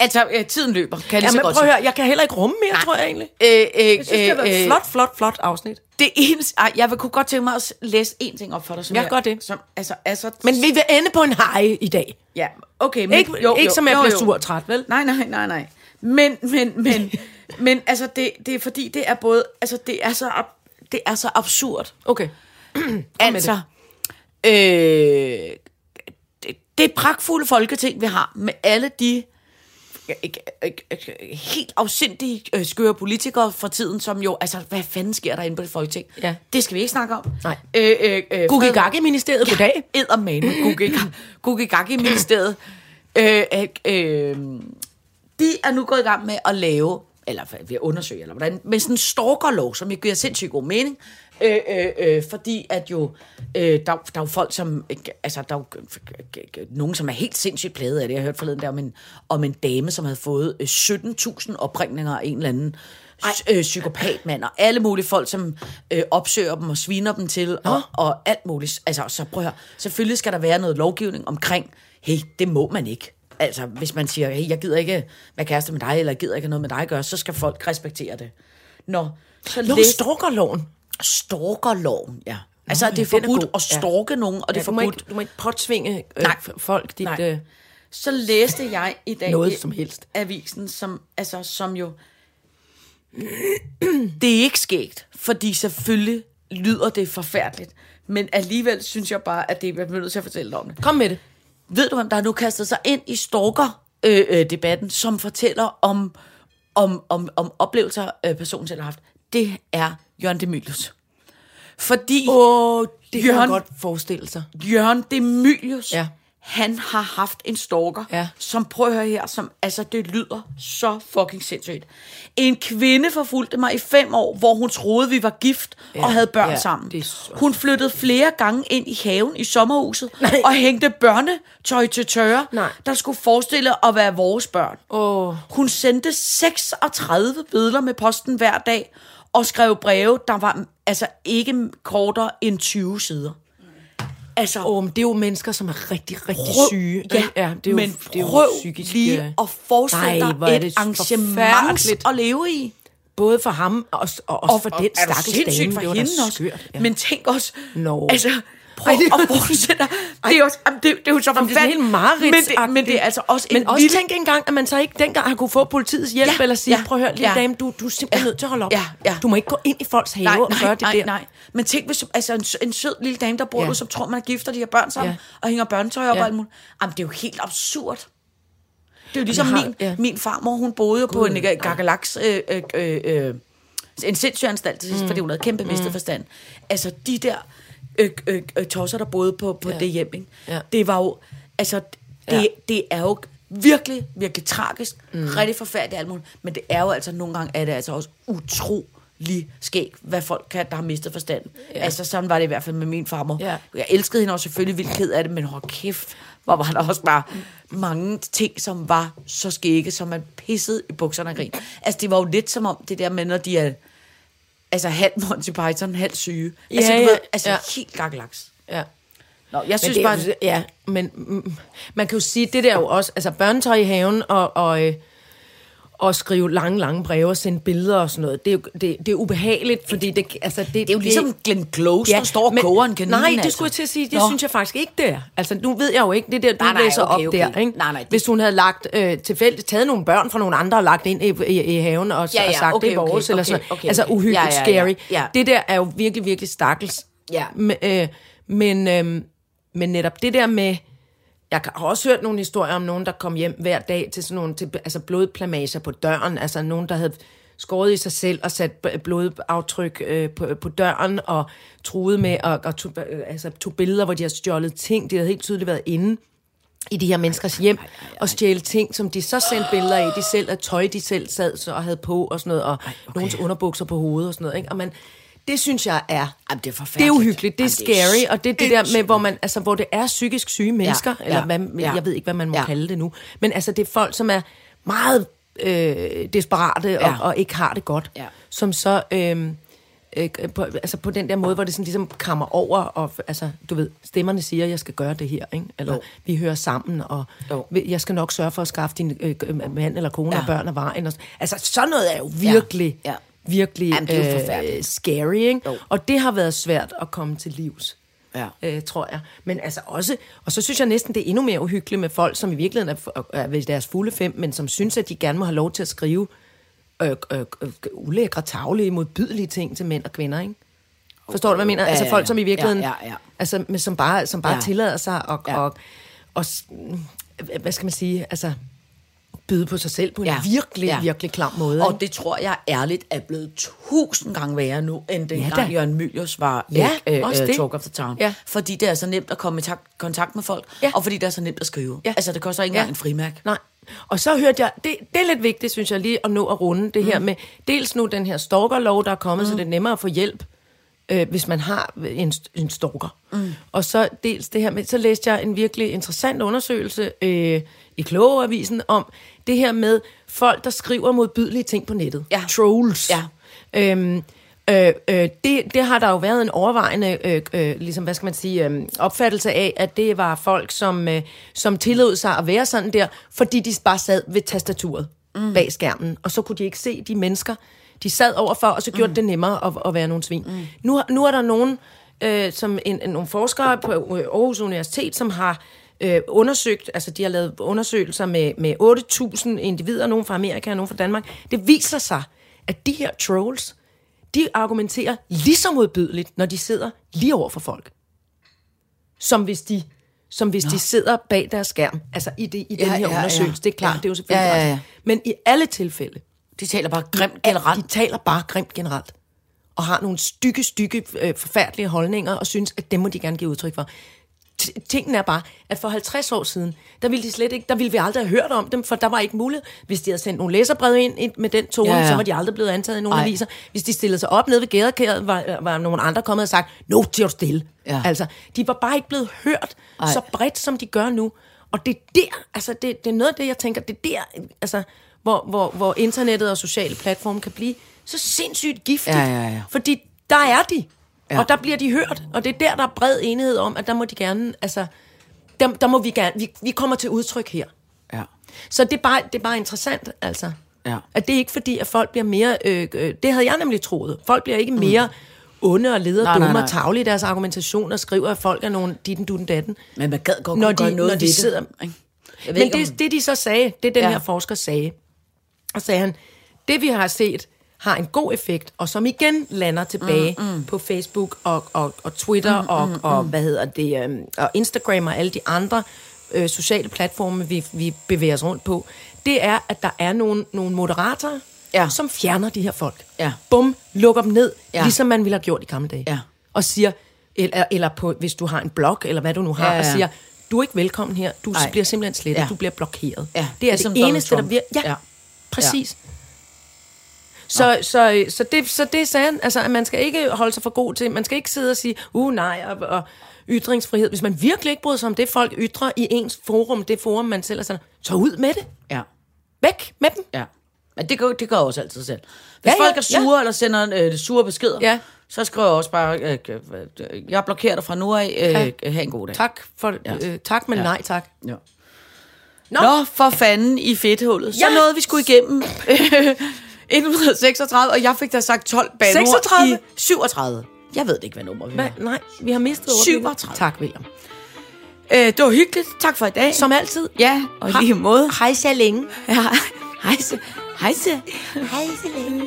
Speaker 4: Altså, øh, tiden løber, kan jeg lige
Speaker 3: Ja,
Speaker 4: så
Speaker 3: men
Speaker 4: godt
Speaker 3: prøv at høre, jeg kan heller ikke rumme mere, Nej. tror jeg egentlig.
Speaker 4: sige. Øh, øh,
Speaker 3: Jeg synes, det har været et
Speaker 4: øh,
Speaker 3: flot, flot, flot afsnit.
Speaker 4: Det eneste, ej, jeg vil kunne godt tænke mig at s- læse en ting op for dig. Som
Speaker 3: Ja,
Speaker 4: jeg,
Speaker 3: gør det.
Speaker 4: Som, altså, altså,
Speaker 3: Men vi vil ende på en hej i dag.
Speaker 4: ja, okay. Men,
Speaker 3: Ikke, Mm. jo, ikke jo, som jeg bliver sur og træt, vel?
Speaker 4: Nej, nej, nej, nej. Men, men, men, men altså, det, det er fordi, det er både, altså, det er så, ab, det er så absurd.
Speaker 3: Okay.
Speaker 4: Altså, øh, det, øh, det pragtfulde folketing, vi har, med alle de ikke- ikke- ikke- helt afsindige øh, skøre politikere fra tiden, som jo, altså, hvad fanden sker der inde på det folketing?
Speaker 3: Ja.
Speaker 4: Det skal vi ikke snakke om.
Speaker 3: Nej.
Speaker 4: Øh, øh, øh,
Speaker 3: Gugi Gagge-ministeriet, goddag.
Speaker 4: eddermame Gugigaki-ministeriet, øh, øh, øh, de er nu gået i gang med at lave, eller ved at undersøge, eller hvordan, med sådan en stalkerlov, som jo giver sindssygt god mening, øh, øh, øh, fordi at jo, øh, der, der er jo folk, som, øh, altså der er jo øh, øh, nogen, som er helt sindssygt plade af det. Jeg hørte forleden der om en, om en dame, som havde fået øh, 17.000 opringninger af en eller anden øh, psykopatmand, og alle mulige folk, som øh, opsøger dem og sviner dem til, og, og alt muligt. Altså, så prøv at høre. Selvfølgelig skal der være noget lovgivning omkring, hey, det må man ikke. Altså, hvis man siger, hey, jeg gider ikke være kæreste med dig, eller jeg gider ikke have noget med dig at gøre, så skal folk respektere det. Nå, så
Speaker 3: Jo,
Speaker 4: læs
Speaker 3: stalkerloven.
Speaker 4: stalkerloven, ja. Altså, det er
Speaker 3: den er
Speaker 4: forbudt
Speaker 3: god.
Speaker 4: at stalke nogen, og det
Speaker 3: Ja,
Speaker 4: er
Speaker 3: du, må
Speaker 4: forbudt
Speaker 3: ikke, du må ikke påtvinge øh,
Speaker 4: Nej.
Speaker 3: f- folk dit...
Speaker 4: Nej.
Speaker 3: Øh,
Speaker 4: så læste jeg i dag
Speaker 3: Noget
Speaker 4: i
Speaker 3: som helst.
Speaker 4: avisen, som, altså, som jo... Det er ikke skægt, fordi selvfølgelig lyder det forfærdeligt. Men alligevel synes jeg bare, at det jeg bliver nødt til at fortælle dig om det.
Speaker 3: Kom med det.
Speaker 4: Ved du, hvem der har nu kastet sig ind i stalker-debatten, øh, øh, debatten, som fortæller om, om, om, om oplevelser, øh, personen selv har haft? Det er Jørgen Demilius. Fordi
Speaker 3: Åh, det kan man
Speaker 4: Jørgen-
Speaker 3: godt forestille sig.
Speaker 4: Jørgen Demilius,
Speaker 3: Ja.
Speaker 4: ja. han har haft en stalker,
Speaker 3: Ja.
Speaker 4: som, prøv at høre her, som, altså det lyder så fucking sindssygt. En kvinde forfulgte mig i fem år, hvor hun troede, vi var gift ja. og havde børn
Speaker 3: ja,
Speaker 4: ja, sammen.
Speaker 3: det er så-
Speaker 4: Hun flyttede flere gange ind i haven i sommerhuset
Speaker 3: Nej.
Speaker 4: og hængte børnetøj til tørre,
Speaker 3: Nej.
Speaker 4: der skulle forestille at være vores børn.
Speaker 3: Åh.
Speaker 4: Hun sendte 36 billeder med posten hver dag og skrev breve, der var altså ikke kortere end 20 sider. Altså,
Speaker 3: Åh, men det er jo mennesker, som er rigtig, rigtig
Speaker 4: prøv,
Speaker 3: syge.
Speaker 4: Ja,
Speaker 3: ja det er jo,
Speaker 4: men
Speaker 3: det er jo
Speaker 4: prøv
Speaker 3: psykisk... øh,
Speaker 4: lige at forestille
Speaker 3: Nej,
Speaker 4: dig
Speaker 3: hvor er
Speaker 4: et
Speaker 3: det
Speaker 4: arrangement
Speaker 3: forfærdeligt.
Speaker 4: at leve i.
Speaker 3: Både for ham og, også- og også og, for den
Speaker 4: er du
Speaker 3: stakkels
Speaker 4: sindssygt
Speaker 3: dame.
Speaker 4: for
Speaker 3: det var da
Speaker 4: hende også.
Speaker 3: skørt.
Speaker 4: Men tænk også,
Speaker 3: Nå.
Speaker 4: altså, prøv
Speaker 3: Ej, det
Speaker 4: at
Speaker 3: var-
Speaker 4: forestille dig. Det er, også, jamen, det, det er jo så
Speaker 3: Jamen, det er sådan
Speaker 4: forfærdeligt. men,
Speaker 3: helt
Speaker 4: det,
Speaker 3: mareridtsagtigt.
Speaker 4: men det er altså også
Speaker 3: Men
Speaker 4: en
Speaker 3: også
Speaker 4: vild-
Speaker 3: tænk engang, at man så ikke dengang har kunne få politiets hjælp,
Speaker 4: Ja,
Speaker 3: eller sige,
Speaker 4: ja,
Speaker 3: prøv at høre, lille
Speaker 4: ja.
Speaker 3: dame, du, du er
Speaker 4: Ja,
Speaker 3: simpelthen nødt til at holde op.
Speaker 4: ja, ja.
Speaker 3: Du må ikke gå ind i folks have og gøre det
Speaker 4: nej,
Speaker 3: der.
Speaker 4: Nej, Men tænk, hvis altså, en, sø- en sød lille dame, der bor
Speaker 3: Ja.
Speaker 4: ja. du, som tror, man er gift, og de har børn sammen,
Speaker 3: Ja.
Speaker 4: ja. og hænger børnetøj op
Speaker 3: Ja.
Speaker 4: ja. og alt muligt. Jamen, det er jo helt absurd. Det er jo ligesom
Speaker 3: har-
Speaker 4: min,
Speaker 3: ja.
Speaker 4: ja. min farmor, hun boede jo på en øh, gagalaks... Øh, øh, øh, øh, en sindssygeanstalt til sidst, mm. fordi hun havde kæmpe mm. misteforstand. Altså, de der øh, øh, øh, tosser, der boede på, på ja. det hjem, ikke?
Speaker 3: Ja.
Speaker 4: det var jo... Altså, det,
Speaker 3: Ja.
Speaker 4: ja. det er jo virkelig, virkelig tragisk, mm. rigtig forfærdeligt alt muligt, men det er jo altså, nogle gange er det altså også utrolig skæg, hvad folk kan, der har mistet forstanden. Ja. Altså, sådan var det i hvert fald med min farmor.
Speaker 3: Ja.
Speaker 4: Jeg elskede hende også selvfølgelig vildt ked af det, men hold kæft, hvor var der også bare mange ting, som var så skægge, som man pissede i bukserne og grin. Altså, det var jo lidt som om det der med, når de er altså halv Monty Python, halv syge. Ja, altså, du
Speaker 3: ja,
Speaker 4: ved, altså
Speaker 3: ja.
Speaker 4: helt gakkelaks.
Speaker 3: Ja.
Speaker 4: Nå, jeg
Speaker 3: Men
Speaker 4: synes
Speaker 3: det
Speaker 4: bare,
Speaker 3: er, jo- ja, men mm, man kan jo sige, det der er jo også, altså børnetøj i haven og, og, øh, og skrive lange, lange breve og sende billeder og sådan noget, det er jo det, det er ubehageligt, fordi det, altså det, det
Speaker 4: det er jo ligesom Glenn Close, ja, der står og
Speaker 3: men-
Speaker 4: koger en kanin.
Speaker 3: Nej, det
Speaker 4: altså.
Speaker 3: skulle jeg til at sige, det
Speaker 4: Nå.
Speaker 3: synes jeg faktisk ikke, det er. Altså, nu ved jeg jo ikke, det der, du
Speaker 4: Nej, nej,
Speaker 3: læser
Speaker 4: okay,
Speaker 3: op
Speaker 4: okay.
Speaker 3: der, ikke?
Speaker 4: Nej, nej, det-
Speaker 3: Hvis hun havde lagt øh, tilfældigt, taget nogle børn fra nogle andre og lagt ind i, i, i haven og,
Speaker 4: Ja,
Speaker 3: og
Speaker 4: ja,
Speaker 3: sagt,
Speaker 4: okay,
Speaker 3: det er vores,
Speaker 4: okay,
Speaker 3: eller
Speaker 4: okay,
Speaker 3: sådan noget.
Speaker 4: okay,
Speaker 3: Altså
Speaker 4: okay.
Speaker 3: uhyggeligt,
Speaker 4: Ja, ja, ja,
Speaker 3: scary.
Speaker 4: ja.
Speaker 3: Det der er jo virkelig, virkelig stakkels.
Speaker 4: Ja.
Speaker 3: Men, øh, men, øh, men netop det der med... Jeg har også hørt nogle historier om nogen, der kom hjem hver dag til sådan nogle til, altså blodplamager på døren. Altså nogen, der havde skåret i sig selv og sat b- blodaftryk øh, på, på døren og truet med og, og tog, øh, altså, tog billeder, hvor de har stjålet ting. De havde helt tydeligt været inde i de her menneskers hjem og stjæle ting, som de så sendte billeder af, de selv af tøj, de selv sad så og havde på og sådan noget, og okay. nogens underbukser på hovedet og sådan noget. Ikke? Og man, det synes jeg er
Speaker 4: Jamen, det er
Speaker 3: det er
Speaker 4: forfærdeligt.
Speaker 3: uhyggeligt, det er
Speaker 4: Jamen,
Speaker 3: scary, og det er det der med, hvor, man, altså, hvor det er psykisk syge mennesker, ja,
Speaker 4: ja,
Speaker 3: eller hvad,
Speaker 4: ja.
Speaker 3: jeg ved ikke, hvad man må ja.
Speaker 4: Ja.
Speaker 3: kalde det nu, men altså det er folk, som er meget øh, desperate og, ja.
Speaker 4: Ja.
Speaker 3: og ikke har det godt,
Speaker 4: Ja.
Speaker 3: som så øh, øh, på, altså på den der måde, hvor det sådan ligesom kammer over, og altså, du ved, stemmerne siger, jeg skal gøre det her, ikke? eller jo.
Speaker 4: Jo.
Speaker 3: vi hører sammen, og
Speaker 4: Jo.
Speaker 3: vi- jeg skal nok sørge for at skaffe din øh, øh, mand eller kone ja.
Speaker 4: Ja.
Speaker 3: og børn af vejen. Og, sådan. altså sådan noget er jo virkelig, ja.
Speaker 4: Ja.
Speaker 3: Ja. virkelig
Speaker 4: Jamen, det er jo
Speaker 3: øh,
Speaker 4: forfærdeligt.
Speaker 3: scary, ikke?
Speaker 4: Jo.
Speaker 3: og det har været svært at komme til livs
Speaker 4: Ja.
Speaker 3: øh, tror jeg. Men altså også, og så synes jeg næsten, det er endnu mere uhyggeligt med folk, som i virkeligheden er, er ved deres fulde fem, men som synes, at de gerne må have lov til at skrive øh, øh, øh, ulækre, tavlige, modbydelige ting til mænd og kvinder, ikke? Forstår du, hvad jeg mener?
Speaker 4: Ja,
Speaker 3: Altså
Speaker 4: ja,
Speaker 3: folk, som i
Speaker 4: ja.
Speaker 3: virkeligheden,
Speaker 4: Ja, ja, ja.
Speaker 3: altså men som bare, som bare ja.
Speaker 4: Ja.
Speaker 3: tillader sig og, ja.
Speaker 4: Ja.
Speaker 3: og, og, s- hvad skal man sige, altså byde på sig selv på en ja.
Speaker 4: Ja.
Speaker 3: virkelig, ja.
Speaker 4: Ja.
Speaker 3: virkelig klam måde.
Speaker 4: Og det tror jeg ærligt er blevet tusind gange værre nu, end dengang
Speaker 3: da.
Speaker 4: ja, Jørgen Mylius var
Speaker 3: Ja,
Speaker 4: øh, øh,
Speaker 3: også det.
Speaker 4: Talk of the Town.
Speaker 3: Ja.
Speaker 4: Fordi det er så nemt at komme i tak- kontakt med folk,
Speaker 3: Ja.
Speaker 4: ja. og fordi det er så nemt at skrive. Ja. Altså, det koster ikke engang ja. en frimærk.
Speaker 3: Nej. Og så hørte jeg, det, det er lidt vigtigt, synes jeg, lige at nå at runde det mm. her med, dels nu den her stalkerlov, der er kommet, mm. så det er nemmere at få hjælp, øh, hvis man har en, en stalker. Mm. Og så dels det her med, så læste jeg en virkelig interessant undersøgelse øh, i Klogeavisen om det her med folk, der skriver modbydelige ting på nettet.
Speaker 4: Ja.
Speaker 3: Trolls.
Speaker 4: Ja.
Speaker 3: Øhm, øh, øh, det, det har der jo været en overvejende øh, øh, ligesom, hvad skal man sige, øh, opfattelse af, at det var folk, som, øh, som tillod sig at være sådan der, fordi de bare sad ved tastaturet mm. bag skærmen, og så kunne de ikke se de mennesker, de sad overfor, og så gjorde mm. det nemmere at, at være nogle svin. Mm. Nu, har- nu er der nogen, øh, som en, en, nogle forskere på øh, Aarhus Universitet, som har øh, undersøgt, altså de har lavet undersøgelser med, med 8.000 individer, nogen fra Amerika og nogen fra Danmark. Det viser sig, at de her trolls, de argumenterer lige så modbydeligt, når de sidder lige over for folk. Som hvis de, som hvis de sidder bag deres skærm. Altså i, det, i den
Speaker 4: Ja,
Speaker 3: her
Speaker 4: ja, ja.
Speaker 3: undersøgelse. Det er klart,
Speaker 4: Ja.
Speaker 3: det er jo selvfølgelig
Speaker 4: Ja, ja, ja.
Speaker 3: ret. Men i alle tilfælde,
Speaker 4: De taler bare grimt
Speaker 3: generelt.
Speaker 4: generelt.
Speaker 3: De taler bare grimt generelt. Og har nogle stykke, stykke øh, forfærdelige holdninger, og synes, at dem må de gerne give udtryk for. T- tingen er bare, at for 50 år siden, der ville, de slet ikke, der ville vi aldrig have hørt om dem, for der var ikke mulighed. Hvis de havde sendt nogle læserbreve ind ind med den tone,
Speaker 4: Ja,
Speaker 3: ja,
Speaker 4: ja.
Speaker 3: ja. så var de aldrig blevet antaget i nogle
Speaker 4: Ej.
Speaker 3: aviser. Hvis de stillede sig op nede ved gærekæret, var, var nogle andre kommet og sagt, no, til at stille.
Speaker 4: Ja.
Speaker 3: Ja. Altså, de var bare ikke blevet hørt
Speaker 4: Ej.
Speaker 3: Ej. så bredt, som de gør nu. Og det er der, altså det, det er noget af det, jeg tænker, det er der, altså, hvor, hvor, hvor internettet og sociale platforme kan blive så sindssygt giftigt.
Speaker 4: Ja, ja, ja.
Speaker 3: Fordi der er de, ja. og der bliver de hørt, og det er der, der er bred enighed om, at der må de gerne, altså, der, der må vi gerne, vi, vi kommer til udtryk her.
Speaker 4: Ja.
Speaker 3: Så det er bare, det er bare interessant, altså.
Speaker 4: Ja.
Speaker 3: At det er ikke fordi, at folk bliver mere... Øh, øh, det havde jeg nemlig troet. Folk bliver ikke mere mm. onde og leder
Speaker 4: Nej, nej,
Speaker 3: dumme
Speaker 4: nej.
Speaker 3: og tavlige i deres argumentation og skriver, at folk er nogle ditten, dutten, datten.
Speaker 4: Men man gad godt
Speaker 3: Når
Speaker 4: kunne
Speaker 3: de-
Speaker 4: gøre noget
Speaker 3: når de
Speaker 4: ved
Speaker 3: sidder-
Speaker 4: det. ikke? Jeg ved
Speaker 3: Men
Speaker 4: Men ikke, det,
Speaker 3: det,
Speaker 4: om, det,
Speaker 3: det, de så sagde, det den
Speaker 4: Ja.
Speaker 3: ja. her forsker sagde, og sagde han, det vi har set har en god effekt, og som igen lander tilbage mm, mm. på Facebook og, og, og Twitter mm, og, mm, og, hvad hedder det, øhm, og Instagram og alle de andre øh, sociale platforme, vi, vi bevæger os rundt på, det er, at der er nogle, nogle moderatorer,
Speaker 4: Ja.
Speaker 3: ja. som fjerner de her folk.
Speaker 4: Ja.
Speaker 3: Bum, lukker dem ned,
Speaker 4: Ja.
Speaker 3: ja. ligesom man ville have gjort i gamle dage.
Speaker 4: Ja.
Speaker 3: Og siger, eller, eller på, hvis du har en blog, eller hvad du nu har,
Speaker 4: Ja,
Speaker 3: ja, ja.
Speaker 4: ja.
Speaker 3: og siger, du er ikke velkommen her, du
Speaker 4: Nej.
Speaker 3: Ej. bliver simpelthen slettet,
Speaker 4: Ja.
Speaker 3: ja. du bliver blokeret.
Speaker 4: Ja,
Speaker 3: Det er
Speaker 4: ligesom
Speaker 3: det
Speaker 4: Donald
Speaker 3: eneste, der
Speaker 4: Trump.
Speaker 3: virker. Ja,
Speaker 4: Ja.
Speaker 3: ja. præcis. Så, så, så, det, så det sagde han, altså, at man skal ikke holde sig for god til, man skal ikke sidde og sige, uh nej, og, og ytringsfrihed. Hvis man virkelig ikke bryder sig om det, folk ytrer i ens forum, det forum, man selv er sådan, så ud med det.
Speaker 4: ja.
Speaker 3: Væk med dem.
Speaker 4: Ja. Men det gør, det gør jeg også altid selv. Hvis
Speaker 3: Ja,
Speaker 4: ja,
Speaker 3: ja,
Speaker 4: folk er
Speaker 3: ja.
Speaker 4: sure ja. eller sender øh, sure beskeder,
Speaker 3: Ja.
Speaker 4: så skriver jeg også bare, øh, øh, jeg blokerer dig fra nu af. Øh, ja. Ha' en god dag.
Speaker 3: Tak, for, ja. øh, tak men
Speaker 4: Ja.
Speaker 3: ja. nej tak.
Speaker 4: Ja.
Speaker 3: Nå.
Speaker 4: Nå, for fanden i fedthullet. Så ja.
Speaker 3: Ja.
Speaker 4: nåede vi skulle igennem. Inden 36, og jeg fik da sagt 12 banord
Speaker 3: 36?
Speaker 4: i 37. Jeg ved det ikke, hvad nummer vi
Speaker 3: Hva?
Speaker 4: er.
Speaker 3: Nej, vi har mistet ordet.
Speaker 4: 37.
Speaker 3: Tak, William.
Speaker 4: Øh, det var hyggeligt. Tak for i dag.
Speaker 3: Som altid.
Speaker 4: Ja, og
Speaker 3: Hej-
Speaker 4: lige måde.
Speaker 3: Hej så længe.
Speaker 4: Ja. Hejse. Hejse.
Speaker 3: Hej så længe.